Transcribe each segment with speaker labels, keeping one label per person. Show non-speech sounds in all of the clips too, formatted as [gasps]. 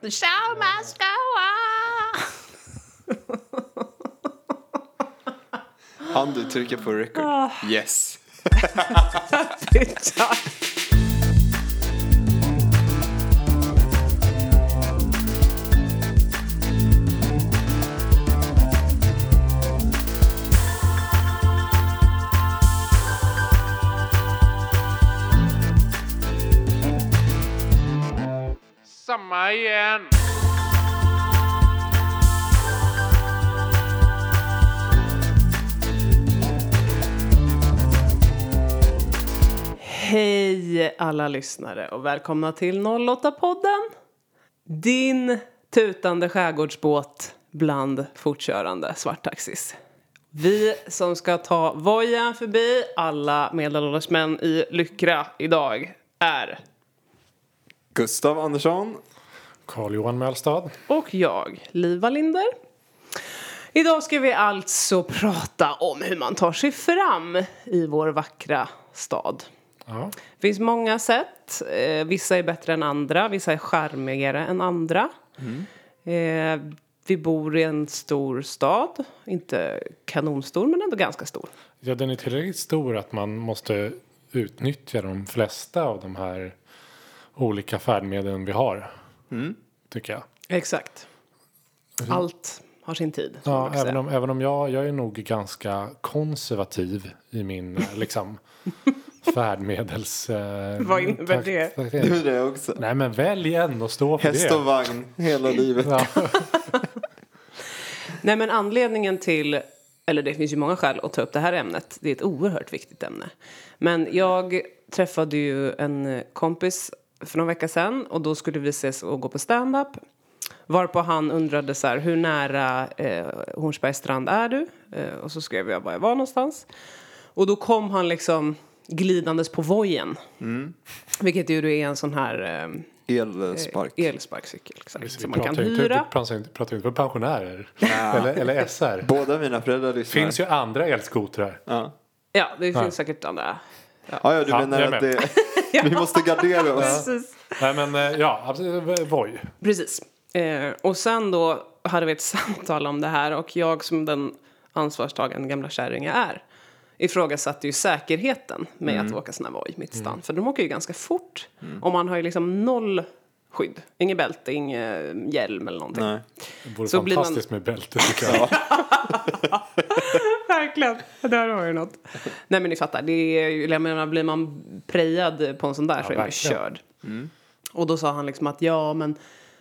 Speaker 1: The show must go on!
Speaker 2: Han du trycker på record.
Speaker 1: Ah.
Speaker 2: Yes.
Speaker 3: Samma igen.
Speaker 1: Hej alla lyssnare och välkomna till 08-podden. Din tutande skärgårdsbåt bland fortkörande svarttaxis. Vi som ska ta vojan förbi alla medelålders män i Lyckra idag är
Speaker 2: Gustav Andersson.
Speaker 4: Carl-Johan Mälstad.
Speaker 1: och jag, Liv Wallinder. Idag ska vi alltså prata om hur man tar sig fram i vår vackra stad.
Speaker 4: Ja.
Speaker 1: Det finns många sätt. Eh, vissa är bättre än andra, vissa är charmigare än andra. Eh, vi bor i en stor stad, inte kanonstor men ändå ganska stor.
Speaker 4: ja, den är tillräckligt stor att man måste utnyttja de flesta av de här olika färdmedlen vi har.
Speaker 1: Mm.
Speaker 4: Tycker jag.
Speaker 1: Exakt. Allt har sin tid. som man
Speaker 4: Ja,
Speaker 1: brukar
Speaker 4: även
Speaker 1: säga.
Speaker 4: om, även om jag, jag är nog ganska konservativ i min eh,
Speaker 1: [laughs]
Speaker 4: liksom, färdmedels... Eh,
Speaker 1: Vad innebär
Speaker 4: tak-
Speaker 1: det?
Speaker 2: Det
Speaker 4: tak-
Speaker 2: är det också.
Speaker 4: [laughs] Nej men välj en och stå för
Speaker 2: Häst och
Speaker 4: det.
Speaker 2: vagn hela livet.
Speaker 4: Ja.
Speaker 1: Nej men anledningen till, eller det finns ju många skäl att ta upp det här ämnet, det är ett oerhört viktigt ämne. Men jag träffade ju en kompis för någon vecka sedan och då skulle vi ses och gå på stand-up. Varpå han undrade så här, hur nära eh, Hornsbergs strand är du? Eh, och så skrev jag var jag var någonstans. Och då kom han liksom glidandes på vojen.
Speaker 4: Mm.
Speaker 1: Vilket ju då är en sån här
Speaker 2: Elspark.
Speaker 1: eh, elsparkcykel. Exakt,
Speaker 4: Vi
Speaker 1: som man kan
Speaker 4: pratar ju inte,
Speaker 1: hyra.
Speaker 4: vi pratar ju inte- pratar ju inte för pensionärer. Eller,
Speaker 1: [laughs]
Speaker 4: eller SR.
Speaker 2: Båda mina föräldrar lyssnar.
Speaker 4: finns ju andra elskotrar.
Speaker 2: Ja,
Speaker 1: Ja, det finns säkert andra
Speaker 2: ah, ja du
Speaker 4: Ja,
Speaker 2: menar
Speaker 4: jag
Speaker 2: att
Speaker 4: med.
Speaker 2: det... [laughs] Vi måste gardera oss.
Speaker 1: Precis.
Speaker 4: Nej men eh, ja, absolut, voj.
Speaker 1: Precis. Eh, och sen då hade vi ett [laughs] samtal om det här och jag som den ansvarstagande gamla kärring jag är ifrågasatte ju säkerheten med att åka sån här voj mitt i stan. För de åker ju ganska fort och man har ju liksom noll skydd. Inget bälte, ingen hjälm eller någonting.
Speaker 2: Nej.
Speaker 4: Det vore
Speaker 1: Så blir man-
Speaker 4: fantastiskt med bälte tycker jag.
Speaker 1: [laughs] Verkligen. Där har ju något. Nej men ni fattar, det är ju, jag menar, blir man prejad på en sån där så är man ju
Speaker 4: verkligen.
Speaker 1: körd. Och då sa han liksom att ja men,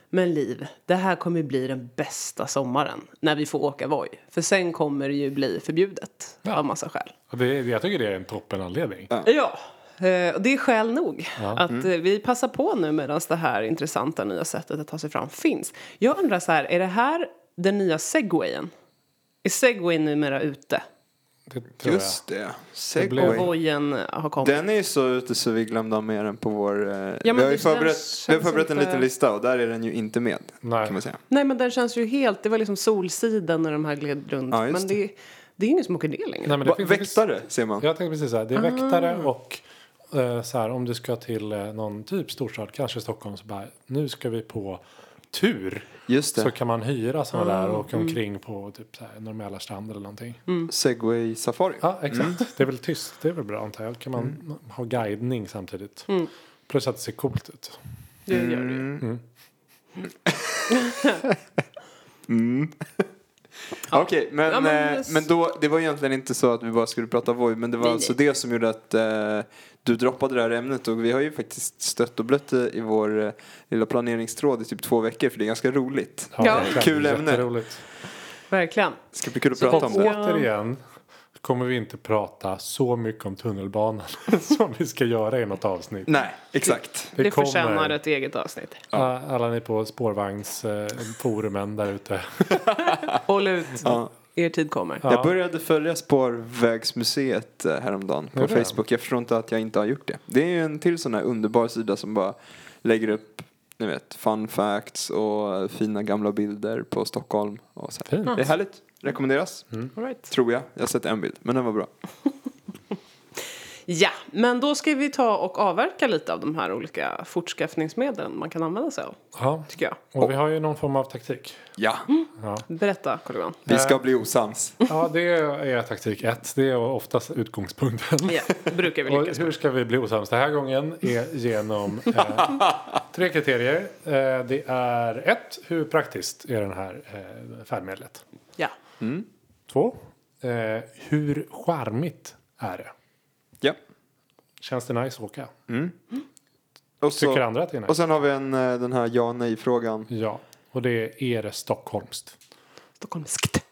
Speaker 1: men Liv, det här kommer bli den bästa sommaren när vi får åka Voi. För sen kommer det ju bli förbjudet av massa skäl.
Speaker 4: Och det, jag tycker det är en toppenanledning.
Speaker 1: Ja, eh, och det är skäl nog att eh, vi passar på nu medan det här intressanta nya sättet att ta sig fram finns. Jag undrar så här, är det här den nya segwayen? Är segway numera ute?
Speaker 4: Det tror
Speaker 2: Just det.
Speaker 4: blev-
Speaker 2: Segway.
Speaker 1: Vojen har kommit.
Speaker 2: Den är ju så ute så vi glömde ha med den på vår... eh, vi har
Speaker 1: det
Speaker 2: ju förberett,
Speaker 1: känns
Speaker 2: vi har förberett en
Speaker 1: inte-
Speaker 2: liten lista och där är den ju inte med.
Speaker 4: Nej.
Speaker 2: Kan man säga.
Speaker 1: Nej men den känns ju helt, det var liksom solsidan när de här gled runt.
Speaker 2: Ja, just
Speaker 1: men det, det är ingen som åker det längre.
Speaker 4: jag. Nej, men det
Speaker 2: Va,
Speaker 4: finns faktiskt-
Speaker 2: väktare Ah. ser man.
Speaker 4: Jag tänkte precis så här. Det är väktare och eh, så här, om du ska till eh, någon typ storstad, kanske Stockholm, så bara nu ska vi på tur.
Speaker 2: Just det.
Speaker 4: Så
Speaker 2: Ah, mm.
Speaker 4: kan man hyra sådana där och åka omkring på typ så här, normala strand eller någonting.
Speaker 2: Segway Safari.
Speaker 4: Ja, exakt.
Speaker 2: Mm.
Speaker 4: Det är väl tyst, det är väl bra antar jag. Kan man ha guidning samtidigt.
Speaker 2: Mm.
Speaker 4: Plus att det ser coolt ut.
Speaker 1: Det gör det ju.
Speaker 2: Okej, men,
Speaker 1: Ja, men-
Speaker 2: men, eh, men då, det var egentligen inte så att vi bara skulle prata Voi, men det var
Speaker 1: Nej,
Speaker 2: alltså det som gjorde att eh, du droppade det här ämnet och vi har ju faktiskt stött och blött det i vår eh, lilla planeringstråd i typ två veckor för det är ganska roligt.
Speaker 1: Ja.
Speaker 4: verkligen.
Speaker 2: Kul ämne.
Speaker 4: Jätteroligt.
Speaker 1: Verkligen.
Speaker 2: Det ska bli kul att
Speaker 4: Och
Speaker 2: prata om det.
Speaker 4: återigen kommer vi inte prata så mycket om tunnelbanan [laughs] som vi ska göra i något avsnitt.
Speaker 2: Nej, exakt.
Speaker 1: Det, förtjänar ett eget avsnitt.
Speaker 4: Ja, Alla ni på spårvagnsforumen där ute.
Speaker 1: Håll ut, er tid kommer.
Speaker 2: Jag började följa Spårvägsmuseet eh, häromdagen på
Speaker 4: Gjorde det?
Speaker 2: Facebook. Jag förstår inte att jag inte har gjort det. Det är ju en till sån här underbar sida som bara lägger upp ni vet, fun facts och fina gamla bilder på Stockholm. Och så här.
Speaker 4: Fint. Mm.
Speaker 2: Det är härligt. Rekommenderas.
Speaker 1: All right.
Speaker 2: Tror jag. Jag har sett en bild, men den var bra.
Speaker 1: Ja, men då ska vi ta och avverka lite av de här olika fortskaffningsmedlen man kan använda sig av,
Speaker 4: Ja.
Speaker 1: tycker jag.
Speaker 4: Och vi har ju någon form av taktik.
Speaker 2: Ja,
Speaker 1: Berätta, carl Johan.
Speaker 2: vi
Speaker 4: Eh.
Speaker 2: ska bli osams.
Speaker 4: Ja, det är taktik ett. Det är oftast utgångspunkten.
Speaker 1: Ja, brukar vi
Speaker 4: [laughs] Och
Speaker 1: lyckas.
Speaker 4: hur ska vi bli osams den här gången? Är genom
Speaker 1: [laughs]
Speaker 4: eh, tre kriterier. Eh, det är ett, hur praktiskt är den här eh, färdmedlet?
Speaker 1: Ja.
Speaker 4: Två, eh, hur charmigt är det?
Speaker 2: Ja.
Speaker 4: Känns det nice att åka?
Speaker 2: Och,
Speaker 4: Tycker
Speaker 2: så,
Speaker 4: andra att det är nice?
Speaker 2: och sen har vi en, eh, den här ja nej-frågan.
Speaker 4: Ja, och det är, är det stockholmskt?
Speaker 1: Stockholmskt.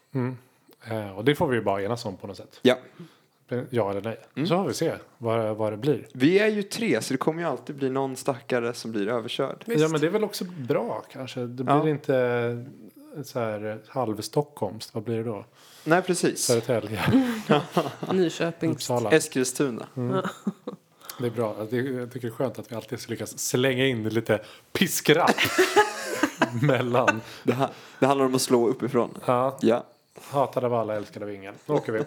Speaker 4: Eh, och det får vi ju bara enas om på något sätt. Eh,
Speaker 2: Ja.
Speaker 4: Ja eller nej.
Speaker 2: Mm.
Speaker 4: Så får vi se vad, vad det blir.
Speaker 2: Vi är ju tre, så det kommer ju alltid bli någon stackare som blir överkörd.
Speaker 4: Ja men det är väl också bra kanske. Det blir
Speaker 2: Ja.
Speaker 4: inte eh, så här halvstockholmskt. Vad blir det då?
Speaker 2: Nej, precis.
Speaker 4: Södertälje,
Speaker 2: Mm.
Speaker 1: Nyköpings.
Speaker 4: Uppsala.
Speaker 2: Eskilstuna.
Speaker 4: Det är bra. Det- Jag tycker det är skönt att vi alltid lyckas slänga in lite
Speaker 2: [laughs]
Speaker 4: piskrapp mellan.
Speaker 2: Det, här, det handlar om att slå uppifrån.
Speaker 4: Ja,
Speaker 2: Ja.
Speaker 4: hatad av alla, älskad av ingen. Nu åker vi.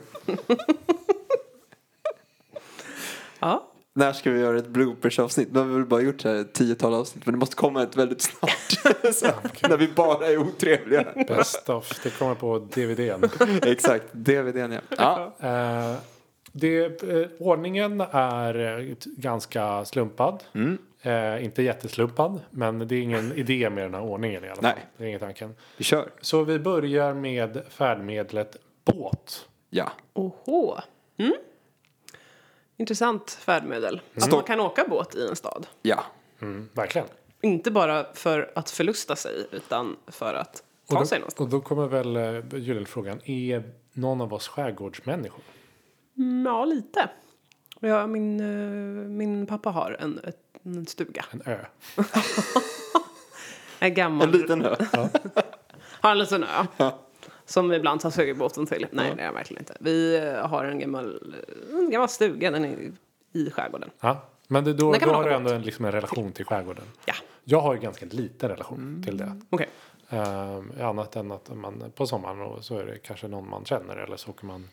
Speaker 1: Ja.
Speaker 2: När ska vi göra ett bloopers-avsnitt? Nu har vi väl bara gjort så här ett tiotal avsnitt, men det måste komma ett väldigt snart. [laughs] så, När vi bara är otrevliga.
Speaker 4: Best of. Det kommer på DVDn.
Speaker 2: Exakt, DVDn ja. ja.
Speaker 4: Eh, det, eh, ordningen är eh, t- ganska slumpad. Eh, inte jätteslumpad, men det är ingen idé med den här ordningen i alla fall.
Speaker 2: Nej.
Speaker 4: Det är ingen tanken.
Speaker 2: Vi kör.
Speaker 4: Så vi börjar med färdmedlet båt.
Speaker 2: Ja.
Speaker 1: Oho. Mm. Intressant färdmedel. Att man
Speaker 2: Stopp.
Speaker 1: kan åka båt i en stad.
Speaker 2: Ja.
Speaker 4: Mm, verkligen.
Speaker 1: Inte bara för att förlusta sig, utan för att ta
Speaker 4: Och
Speaker 1: sig
Speaker 4: då,
Speaker 1: någonstans.
Speaker 4: och då kommer väl eh, Gyllene-frågan. Är någon av oss skärgårdsmänniskor?
Speaker 1: Mm, ja, lite. Ja, min, eh, min pappa har en, ett- en stuga.
Speaker 4: En ö?
Speaker 1: En gammal.
Speaker 2: En liten ö.
Speaker 1: Har en liten ö. Som vi ibland tar segelbåten till. Nej, det är jag verkligen inte. Vi eh, har en gammal, eh, en gammal stuga. Den är i skärgården.
Speaker 4: Ja. Men det, då,
Speaker 1: Där kan
Speaker 4: då
Speaker 1: man
Speaker 4: har du
Speaker 1: åka
Speaker 4: ändå en, liksom en relation till skärgården.
Speaker 1: Ja,
Speaker 4: Jag har ju ganska liten relation till det.
Speaker 1: okej.
Speaker 4: Eh, annat än att man på sommaren och så är det kanske någon man känner eller så åker man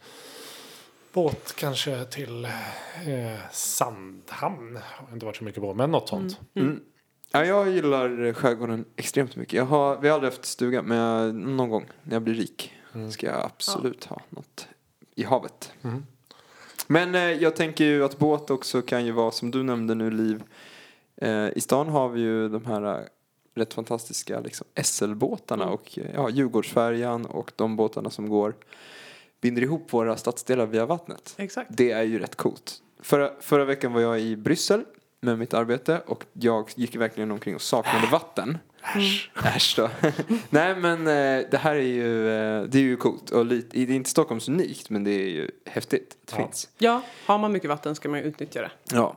Speaker 4: båt kanske till eh, Sandhamn. Har inte varit så mycket på men något sånt.
Speaker 2: Ja, jag gillar skärgården extremt mycket. Jag har, vi har aldrig haft stuga, men jag, någon gång när jag blir rik ska jag absolut ha något i havet. Men eh, jag tänker ju att båt också kan ju vara, som du nämnde nu Liv, eh, i stan har vi ju de här eh, rätt fantastiska liksom, SL-båtarna och eh, ja, Djurgårdsfärjan och de båtarna som går, binder ihop våra stadsdelar via vattnet.
Speaker 1: Exakt.
Speaker 2: Det är ju rätt coolt. Förra, förra veckan var jag i Bryssel med mitt arbete och jag gick verkligen omkring och saknade vatten. Äsch. Äsch då. [laughs] Nej men eh, det här är ju, eh, det är ju coolt och lite, det är inte Stockholms unikt men det är ju häftigt att det
Speaker 4: Ja.
Speaker 2: finns.
Speaker 1: Ja, har man mycket vatten ska man ju utnyttja det.
Speaker 2: Ja.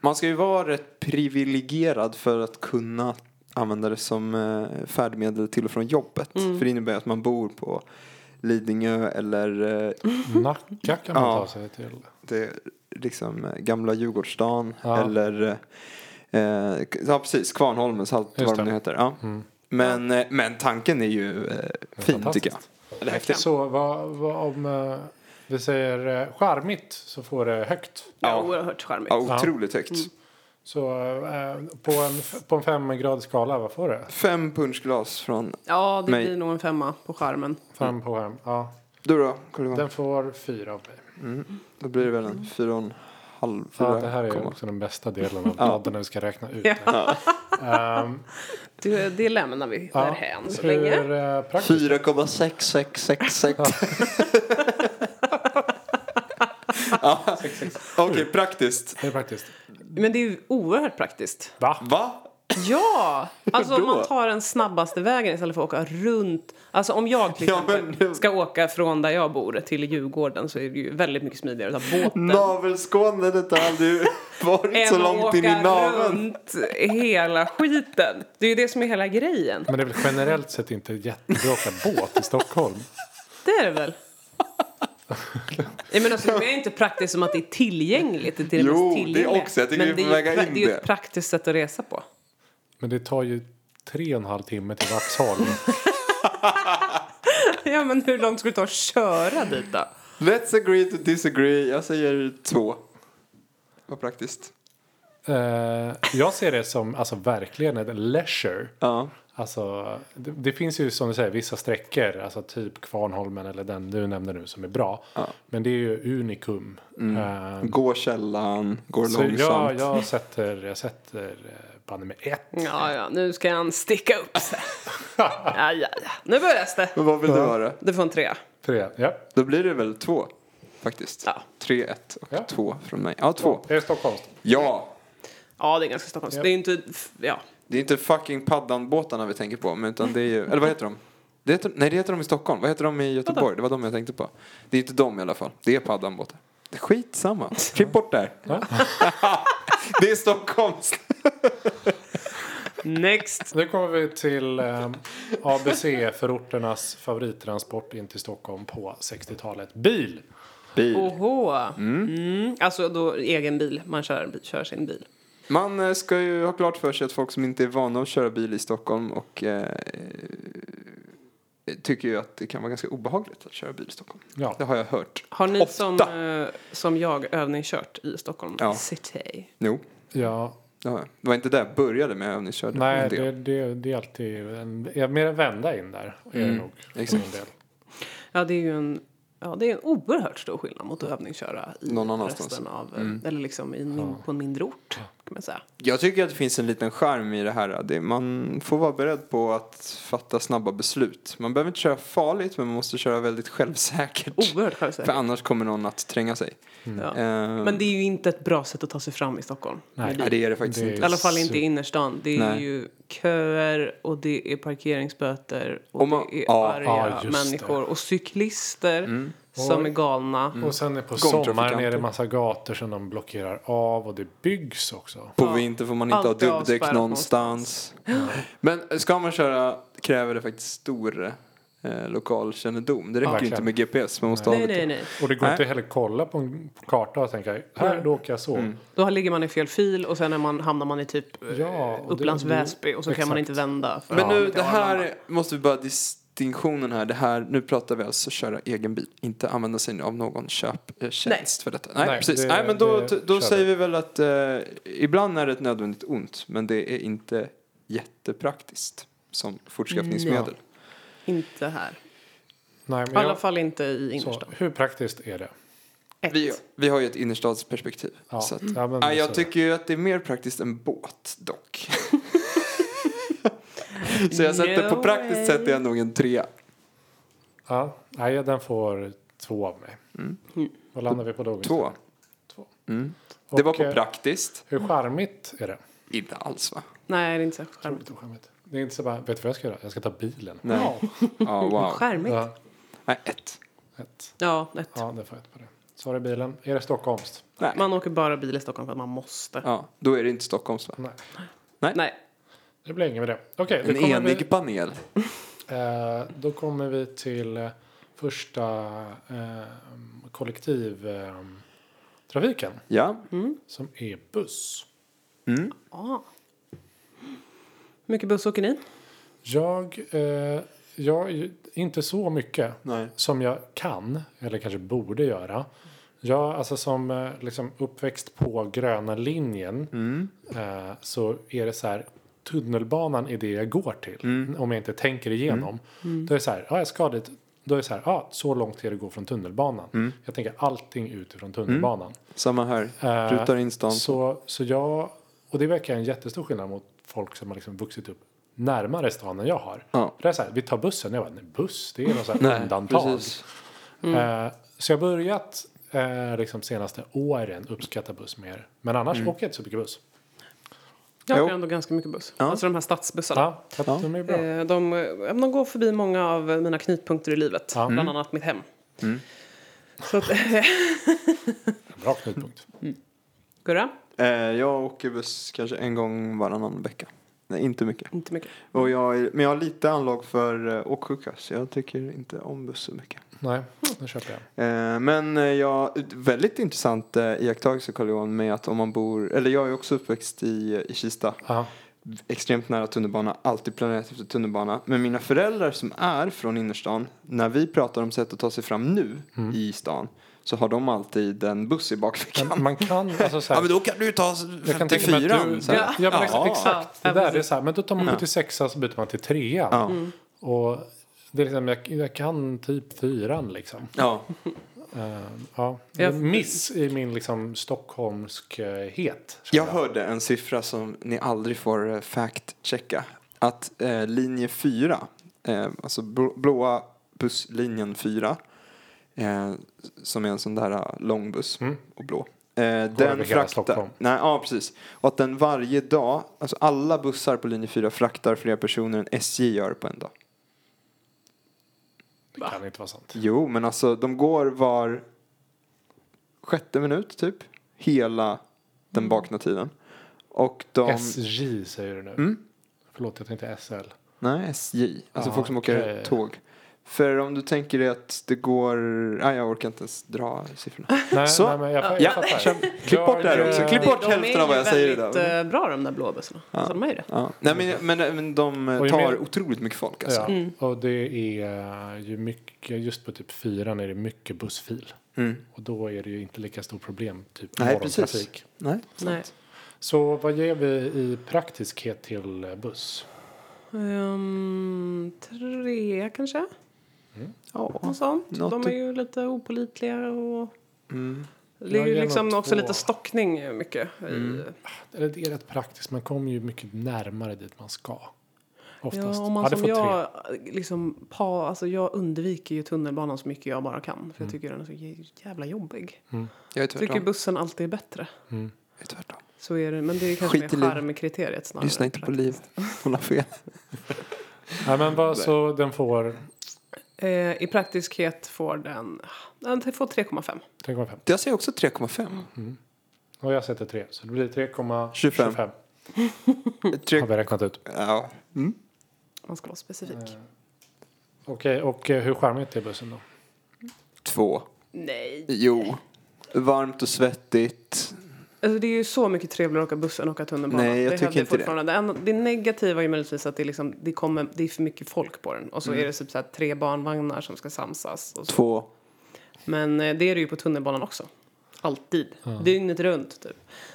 Speaker 2: Man ska ju vara rätt privilegierad för att kunna använda det som eh, färdmedel till och från jobbet. För det innebär att man bor på Lidingö eller eh,
Speaker 1: Mm.
Speaker 4: Nacka kan man
Speaker 2: Ja.
Speaker 4: ta sig till.
Speaker 2: det är liksom eh, gamla Djurgårdsstan
Speaker 4: Ja.
Speaker 2: eller eh, eh, ja precis Kvarnholmen, Salt, vad de
Speaker 4: Just det. Mm.
Speaker 2: nu heter. Ja. Men, eh, men tanken är ju eh, fin tycker jag.
Speaker 4: fantastiskt.
Speaker 2: Eller häftigt.
Speaker 4: Så vad, vad om eh, vi säger eh, charmigt så får det högt.
Speaker 1: Ja,
Speaker 2: Ja.
Speaker 1: oerhört charmigt.
Speaker 2: Ja, otroligt högt.
Speaker 4: Så eh, på en, f- på en femgradig skala, vad får det?
Speaker 2: Fem punschglas från
Speaker 1: Ja, det
Speaker 2: Nej.
Speaker 1: blir nog en femma på skärmen.
Speaker 4: Fem på skärm. Ja,
Speaker 2: du då? Carl-Johan?
Speaker 4: den får fyra av mig.
Speaker 2: Då blir det väl en fyra och en halv.
Speaker 4: Ja,
Speaker 2: fyra
Speaker 4: det här är
Speaker 2: komma.
Speaker 4: också den bästa delen av podden när vi ska räkna ut.
Speaker 1: Ja.
Speaker 4: Ehm,
Speaker 1: Det, det lämnar vi
Speaker 4: ja,
Speaker 1: därhän så
Speaker 4: hur,
Speaker 1: länge.
Speaker 4: eh, praktiskt?
Speaker 2: 4,6666. [laughs] ja. Okej, praktiskt.
Speaker 4: Hur praktiskt?
Speaker 1: Men det är ju oerhört praktiskt.
Speaker 4: Va?
Speaker 2: Va?
Speaker 1: Ja!
Speaker 2: [laughs]
Speaker 1: Alltså om
Speaker 2: Då?
Speaker 1: man tar den snabbaste vägen istället för att åka runt. Alltså om jag till
Speaker 2: Ja,
Speaker 1: exempel
Speaker 2: men nu-
Speaker 1: ska åka från där jag bor till Djurgården så är det ju väldigt mycket smidigare att ta båten.
Speaker 2: Navelskånet har
Speaker 1: [laughs]
Speaker 2: aldrig varit Mm. så
Speaker 1: än att
Speaker 2: långt in i
Speaker 1: åka
Speaker 2: naveln.
Speaker 1: runt hela skiten. Det är ju det som är hela grejen.
Speaker 4: Men det är väl generellt sett inte jättebra att åka båt i Stockholm?
Speaker 1: Det är det [laughs] väl? Nej, men alltså, det är inte praktiskt som att det är tillgängligt. Det är det
Speaker 2: Jo,
Speaker 1: mest
Speaker 2: det är
Speaker 1: tillgängliga.
Speaker 2: också. Jag tycker
Speaker 1: Men
Speaker 2: vi
Speaker 1: det är
Speaker 2: får
Speaker 1: ju
Speaker 2: väga
Speaker 1: pra-
Speaker 2: in
Speaker 1: Det är ju
Speaker 2: det.
Speaker 1: ett praktiskt sätt att resa på.
Speaker 4: Men det tar ju tre och en halv timme till Vaxholm.
Speaker 1: Ja, men hur långt ska det ta att köra dit då?
Speaker 2: Let's agree to disagree. Jag säger två. vad praktiskt.
Speaker 4: Eh, jag ser det som alltså, verkligen ett leisure.
Speaker 2: Ja.
Speaker 4: Alltså, det, det finns ju som du säger vissa sträckor, alltså typ Kvarnholmen eller den du nämnde nu som är bra.
Speaker 2: Ja.
Speaker 4: Men det är ju unikum. Eh,
Speaker 2: Går källan, går
Speaker 4: så jag,
Speaker 2: långsamt.
Speaker 4: jag sätter, jag sätter eh, banne med ett.
Speaker 1: Ja, ja, nu ska han sticka upp sig. Ja, ja, ja. Nu börjar det.
Speaker 2: Men vad vill du höra?
Speaker 1: Du får en trea.
Speaker 4: Tre. Ja.
Speaker 2: Då blir det väl två faktiskt.
Speaker 1: Ja.
Speaker 2: Tre, ett och
Speaker 4: Ja.
Speaker 2: två från mig. Ja, två.
Speaker 4: Är det Stockholms?
Speaker 2: Ja!
Speaker 1: Ja, det är ganska stockholmskt.
Speaker 4: Ja.
Speaker 1: Det är inte... Ja.
Speaker 2: Det är inte fucking paddanbåtarna vi tänker på, men utan det är ju, eller vad heter de? Det heter, nej, det heter de i Stockholm. Vad heter de i Göteborg? Det var de jag tänkte på. Det är inte de i alla fall. Det är paddanbåtar. Skitsamma. Klipp bort där.
Speaker 4: Ja.
Speaker 2: [laughs] det är Stockholms.
Speaker 1: Next.
Speaker 4: Nu kommer vi till eh, ABC-förorternas favorittransport in till Stockholm på 60-talet. Bil!
Speaker 2: Bil.
Speaker 1: Oho. Mm. Alltså då egen bil. Man kör, kör sin bil.
Speaker 2: Man eh, ska ju ha klart för sig att folk som inte är vana att köra bil i Stockholm och eh, tycker ju att det kan vara ganska obehagligt att köra bil i Stockholm.
Speaker 4: Ja.
Speaker 2: Det har jag hört.
Speaker 1: Har ni
Speaker 2: Ofta.
Speaker 1: som, eh, som jag övningskört i Stockholm
Speaker 2: Ja.
Speaker 1: city?
Speaker 2: Jo,
Speaker 4: Ja,
Speaker 2: det har jag. Det var inte där jag började med övningskörning.
Speaker 4: nej,
Speaker 2: en del.
Speaker 4: det, det, det är alltid en, ja, mer en vända in där. Är det nog, för
Speaker 2: Mm, exakt.
Speaker 4: min del.
Speaker 1: Ja, det är ju en, ja, det är en oerhört stor skillnad mot att övningsköra i
Speaker 2: Någon Mm. annanstans.
Speaker 1: resten av, eh, eller liksom i, en min- på en mindre ort. Kan man säga.
Speaker 2: Jag tycker att det finns en liten charm i det här. Det- Man får vara beredd på att fatta snabba beslut. Man behöver inte köra farligt, men man måste köra väldigt självsäkert. [laughs]
Speaker 1: Oerhört
Speaker 2: För
Speaker 1: självsäkert.
Speaker 2: annars kommer någon att tränga sig.
Speaker 1: Oh, Ja.
Speaker 2: Ehm,
Speaker 1: Men det är ju inte ett bra sätt att ta sig fram i Stockholm.
Speaker 4: Nej.
Speaker 2: nej, det är det faktiskt
Speaker 4: Det är-
Speaker 2: inte.
Speaker 1: I alla fall inte i innerstan. Det är
Speaker 2: Nej.
Speaker 1: ju köer och det är parkeringsböter och
Speaker 2: Och man-
Speaker 1: det är
Speaker 2: ja, Mm.
Speaker 1: arga
Speaker 4: ja, just
Speaker 1: människor och cyklister som
Speaker 4: Oj.
Speaker 1: är galna.
Speaker 4: Mm. Och sen är på
Speaker 2: Gångtrafikanter.
Speaker 4: sommaren är det massa gator som de blockerar av och det byggs också.
Speaker 2: På
Speaker 1: Ja.
Speaker 2: vintern får man inte
Speaker 1: Alltid
Speaker 2: ha dubbdäck
Speaker 1: avspärrat
Speaker 2: någonstans.
Speaker 1: [gasps]
Speaker 2: Men ska man köra kräver det faktiskt stor eh, lokalkännedom. Det räcker ju
Speaker 4: Verkligen.
Speaker 2: inte med GPS. Man måste ha
Speaker 1: Nej,
Speaker 2: lite.
Speaker 1: nej, nej.
Speaker 4: Och det går
Speaker 2: Nej.
Speaker 4: inte heller att kolla på en karta och tänka här, då åker jag så.
Speaker 2: Mm.
Speaker 1: Då ligger man i fel fil och sen är man, hamnar man i typ eh,
Speaker 4: Ja, och det-
Speaker 1: Upplands
Speaker 4: och det-
Speaker 1: Väsby och så kan man
Speaker 4: exakt.
Speaker 1: inte vända. För
Speaker 2: Men
Speaker 1: att komma
Speaker 2: nu,
Speaker 1: till
Speaker 2: det
Speaker 1: Arlanda.
Speaker 2: här måste vi bara distinktionen här. Det här. Nu pratar vi alltså köra egen bil. Inte använda sig av någon köptjänst
Speaker 1: Nej.
Speaker 2: för detta. Nej,
Speaker 4: Nej,
Speaker 2: precis.
Speaker 4: det-
Speaker 2: Nej, men då,
Speaker 4: det
Speaker 2: då
Speaker 4: kör
Speaker 2: säger vi väl att eh, ibland är det ett nödvändigt ont. Men det är inte jättepraktiskt som fortskaffningsmedel.
Speaker 1: Inte här.
Speaker 4: Nej,
Speaker 1: I
Speaker 4: men
Speaker 1: alla
Speaker 4: jag,
Speaker 1: fall inte i
Speaker 4: så,
Speaker 1: innerstan.
Speaker 4: hur praktiskt är det?
Speaker 1: Ett.
Speaker 2: Vi, vi har ju ett innerstadsperspektiv.
Speaker 4: Ja.
Speaker 2: Så att,
Speaker 4: Ja, men
Speaker 2: Nej, jag
Speaker 4: så-
Speaker 2: tycker ju att det är mer praktiskt än båt
Speaker 1: [laughs]
Speaker 2: dock. [laughs] så jag sätter på
Speaker 1: No
Speaker 2: praktiskt sätt är
Speaker 1: way.
Speaker 2: jag nog en trea.
Speaker 4: Ja, nej, den får två av mig. Vad landar vi på då? Gustav?
Speaker 2: Två.
Speaker 4: Två.
Speaker 2: Mm. Det var
Speaker 4: Och,
Speaker 2: på
Speaker 4: eh,
Speaker 2: praktiskt.
Speaker 4: Hur charmigt är det?
Speaker 2: Inte alls va?
Speaker 1: Nej, det är inte särskilt charmigt.
Speaker 4: Otroligt charmigt. Det är inte så bara, vet du vad jag ska göra? Jag ska ta bilen.
Speaker 2: Nej.
Speaker 4: [laughs]
Speaker 2: Ja, wow.
Speaker 1: Charmigt?
Speaker 4: Ja,
Speaker 2: Nej, ett.
Speaker 4: ett.
Speaker 1: Ja, ett.
Speaker 4: ja det får jag ett på det. Så har du bilen. Är det Stockholms?
Speaker 2: Nej.
Speaker 1: Man åker bara bil i Stockholm för att man måste.
Speaker 2: Ja, då är det inte Stockholms va?
Speaker 4: Nej,
Speaker 1: Nej.
Speaker 4: det blir inget med det. Okej,
Speaker 2: En
Speaker 4: då, kommer
Speaker 2: enig panel.
Speaker 4: vi, eh, då kommer vi till eh, första eh, kollektivtrafiken eh, trafiken,
Speaker 2: Ja.
Speaker 4: som är buss.
Speaker 1: Ja. Ah. Hur mycket buss åker ni?
Speaker 4: Jag, eh, jag, inte så mycket
Speaker 2: Nej.
Speaker 4: som jag kan, eller kanske borde göra. Jag, alltså som eh, liksom uppväxt på gröna linjen eh, så är det så här tunnelbanan är det jag går till om jag inte tänker igenom. Då är det så här, ja jag ska dit. Då är det så här, ja så långt är det att gå från tunnelbanan. Jag tänker allting utifrån tunnelbanan.
Speaker 2: Samma här.
Speaker 4: Eh,
Speaker 2: Rutar in stan.
Speaker 4: Så, så jag, och det verkar en jättestor skillnad mot folk som har liksom vuxit upp närmare stan än jag har.
Speaker 2: Ja.
Speaker 4: För det är så här, vi tar bussen. Jag bara, nej buss, det är något så här
Speaker 2: Nej,
Speaker 4: undantag.
Speaker 2: precis.
Speaker 4: Eh, så jag har börjat eh, liksom senaste åren uppskatta buss mer. Men annars
Speaker 2: Mm.
Speaker 4: åker jag inte så mycket buss.
Speaker 1: Jag
Speaker 2: Jo.
Speaker 1: åker ändå ganska mycket buss.
Speaker 2: Ja.
Speaker 1: Alltså de här stadsbussarna.
Speaker 4: Ja, så att
Speaker 2: Ja.
Speaker 4: de är bra.
Speaker 1: Eh, De, eh, de går förbi många av mina knutpunkter i livet.
Speaker 4: Ja.
Speaker 2: Mm.
Speaker 1: Bland annat mitt hem. Så att, [laughs]
Speaker 4: Bra knutpunkt.
Speaker 1: Gurra?
Speaker 2: Eh, jag åker buss kanske en gång varannan vecka. Nej, inte mycket.
Speaker 1: Inte mycket.
Speaker 2: Och jag är, men jag har lite anlag för eh, åksjuka så jag tycker inte om buss så mycket.
Speaker 4: Nej, nu köper jag.
Speaker 2: Eh, men eh, jag, ett väldigt intressant eh, iakttagelse Carl Johan med att om man bor, eller jag är också uppväxt i, i Kista.
Speaker 4: Ja,
Speaker 2: Extremt nära tunnelbana, alltid planerat efter tunnelbana. Men mina
Speaker 4: Mm.
Speaker 2: föräldrar som är från innerstan, när vi pratar om sätt att ta sig fram nu i stan så har de alltid en buss i bakfickan.
Speaker 4: Men man kan, alltså så här,
Speaker 2: Ja, men då kan du ju ta
Speaker 4: jag kan tänka mig att
Speaker 2: 54
Speaker 4: du,
Speaker 2: så
Speaker 4: ja,
Speaker 2: här.
Speaker 4: ja, men
Speaker 2: Ja.
Speaker 4: exakt, exakt.
Speaker 1: Ja,
Speaker 4: det där är
Speaker 1: precis.
Speaker 4: så här, men då tar man 76 så byter man till 3
Speaker 2: Ja.
Speaker 4: Mm. Och det är liksom, jag, jag kan typ 4 liksom.
Speaker 2: Ja.
Speaker 4: Eh, ja.
Speaker 1: Jag-
Speaker 4: Miss i min liksom stockholmskhet.
Speaker 2: Jag hörde en siffra som ni aldrig får eh, fact-checka. Att eh, linje 4, eh, alltså bl- blåa busslinjen 4, eh, som är en sån där eh, lång buss och blå. Eh,
Speaker 4: Mm. över
Speaker 2: den
Speaker 4: hela Stockholm.
Speaker 2: fraktar, nej, ja, precis. Och att den varje dag, alltså alla bussar på linje 4 fraktar fler personer än SJ gör på en dag.
Speaker 4: Det kan inte vara sant.
Speaker 2: Jo, men alltså de går var sjätte minut typ. Hela den
Speaker 4: Mm.
Speaker 2: vakna tiden. Och de...
Speaker 4: SJ säger du nu.
Speaker 2: Mm.
Speaker 4: Förlåt, jag tänkte SL.
Speaker 2: Nej, SJ. Alltså
Speaker 4: Ah,
Speaker 2: folk som
Speaker 4: okej.
Speaker 2: åker tåg. För om du tänker dig att det går... Nej, jag orkar inte ens dra siffrorna.
Speaker 4: [laughs] Nej,
Speaker 2: Så.
Speaker 4: nej, men jag, jag
Speaker 2: Ja.
Speaker 4: fattar.
Speaker 2: Klipp bort det här
Speaker 4: Jag-
Speaker 2: också. Klipp bort
Speaker 1: Eh, de är
Speaker 2: hälften av vad jag
Speaker 1: ju
Speaker 2: säger
Speaker 1: väldigt
Speaker 2: idag.
Speaker 1: eh, bra de där blåbussarna. Alltså, de är ju det.
Speaker 2: Ja. Nej, men, men, men de eh,
Speaker 4: Och ju
Speaker 2: tar
Speaker 4: mer-
Speaker 2: otroligt mycket folk alltså.
Speaker 4: Ja,
Speaker 1: Mm.
Speaker 4: och det är eh, ju mycket, just på typ fyran är det mycket bussfil.
Speaker 2: Mm.
Speaker 4: Och då är det ju inte lika stort problem, typ
Speaker 2: Nej,
Speaker 4: morgontrafik.
Speaker 2: precis. Nej.
Speaker 1: Nej.
Speaker 4: Så vad ger vi i praktiskhet till eh, buss?
Speaker 1: Ehm, tre kanske?
Speaker 2: Ja.
Speaker 1: Något sånt.
Speaker 2: Något typ.
Speaker 1: de är
Speaker 2: i-
Speaker 1: ju lite opolitliga och...
Speaker 2: Mm.
Speaker 1: Det är
Speaker 4: Jag
Speaker 1: ju
Speaker 4: ger
Speaker 1: liksom
Speaker 4: nog
Speaker 1: också
Speaker 4: två.
Speaker 1: lite stockning eh, mycket. i-
Speaker 2: Mm.
Speaker 4: Eller det är rätt praktiskt, man kommer ju mycket närmare dit man ska. Oftast.
Speaker 1: Ja, om man
Speaker 4: Hade
Speaker 1: som
Speaker 4: fått
Speaker 1: jag, liksom, pa, alltså jag undviker ju tunnelbanan så mycket jag bara kan. För
Speaker 2: Mm.
Speaker 1: jag tycker den är så jä- jävla jobbig.
Speaker 2: Jag är
Speaker 1: Jag tycker
Speaker 2: tvärtom.
Speaker 1: bussen alltid är bättre.
Speaker 2: Jag är tvärtom.
Speaker 1: Så är det, men det är kanske
Speaker 2: Skit i
Speaker 1: mer
Speaker 2: liv.
Speaker 1: charmkriteriet snarare.
Speaker 2: Lyssna inte på
Speaker 1: [laughs]
Speaker 2: liv. Hon har fel.
Speaker 4: Nej, men vad, så den får
Speaker 1: Eh, I praktiskhet får den, den får 3,5.
Speaker 4: 3,5.
Speaker 2: Jag säger också 3,5.
Speaker 4: Och jag sätter 3, så det blir 3,25.
Speaker 2: 25.
Speaker 4: Har
Speaker 2: 3...
Speaker 4: vi räknat ut.
Speaker 2: Ja. Mm.
Speaker 1: Man ska vara specifik.
Speaker 2: Eh.
Speaker 4: Okej, och eh, hur charmigt är bussen då?
Speaker 2: Två.
Speaker 1: Nej.
Speaker 2: Jo. Varmt och svettigt.
Speaker 1: Alltså, det är ju så mycket trevligare att åka buss än att åka tunnelbana.
Speaker 2: Nej, jag
Speaker 1: det
Speaker 2: tycker
Speaker 1: hävdar
Speaker 2: inte det.
Speaker 1: fortfarande. det. enda- Det negativa är ju möjligtvis att det, är liksom, det, kommer, det är för mycket folk på den. Och
Speaker 2: Mm.
Speaker 1: så är det typ så här tre barnvagnar som ska samsas. Och så.
Speaker 2: Två.
Speaker 1: Men eh, det är det ju på tunnelbanan också. Alltid. Dygnet runt typ.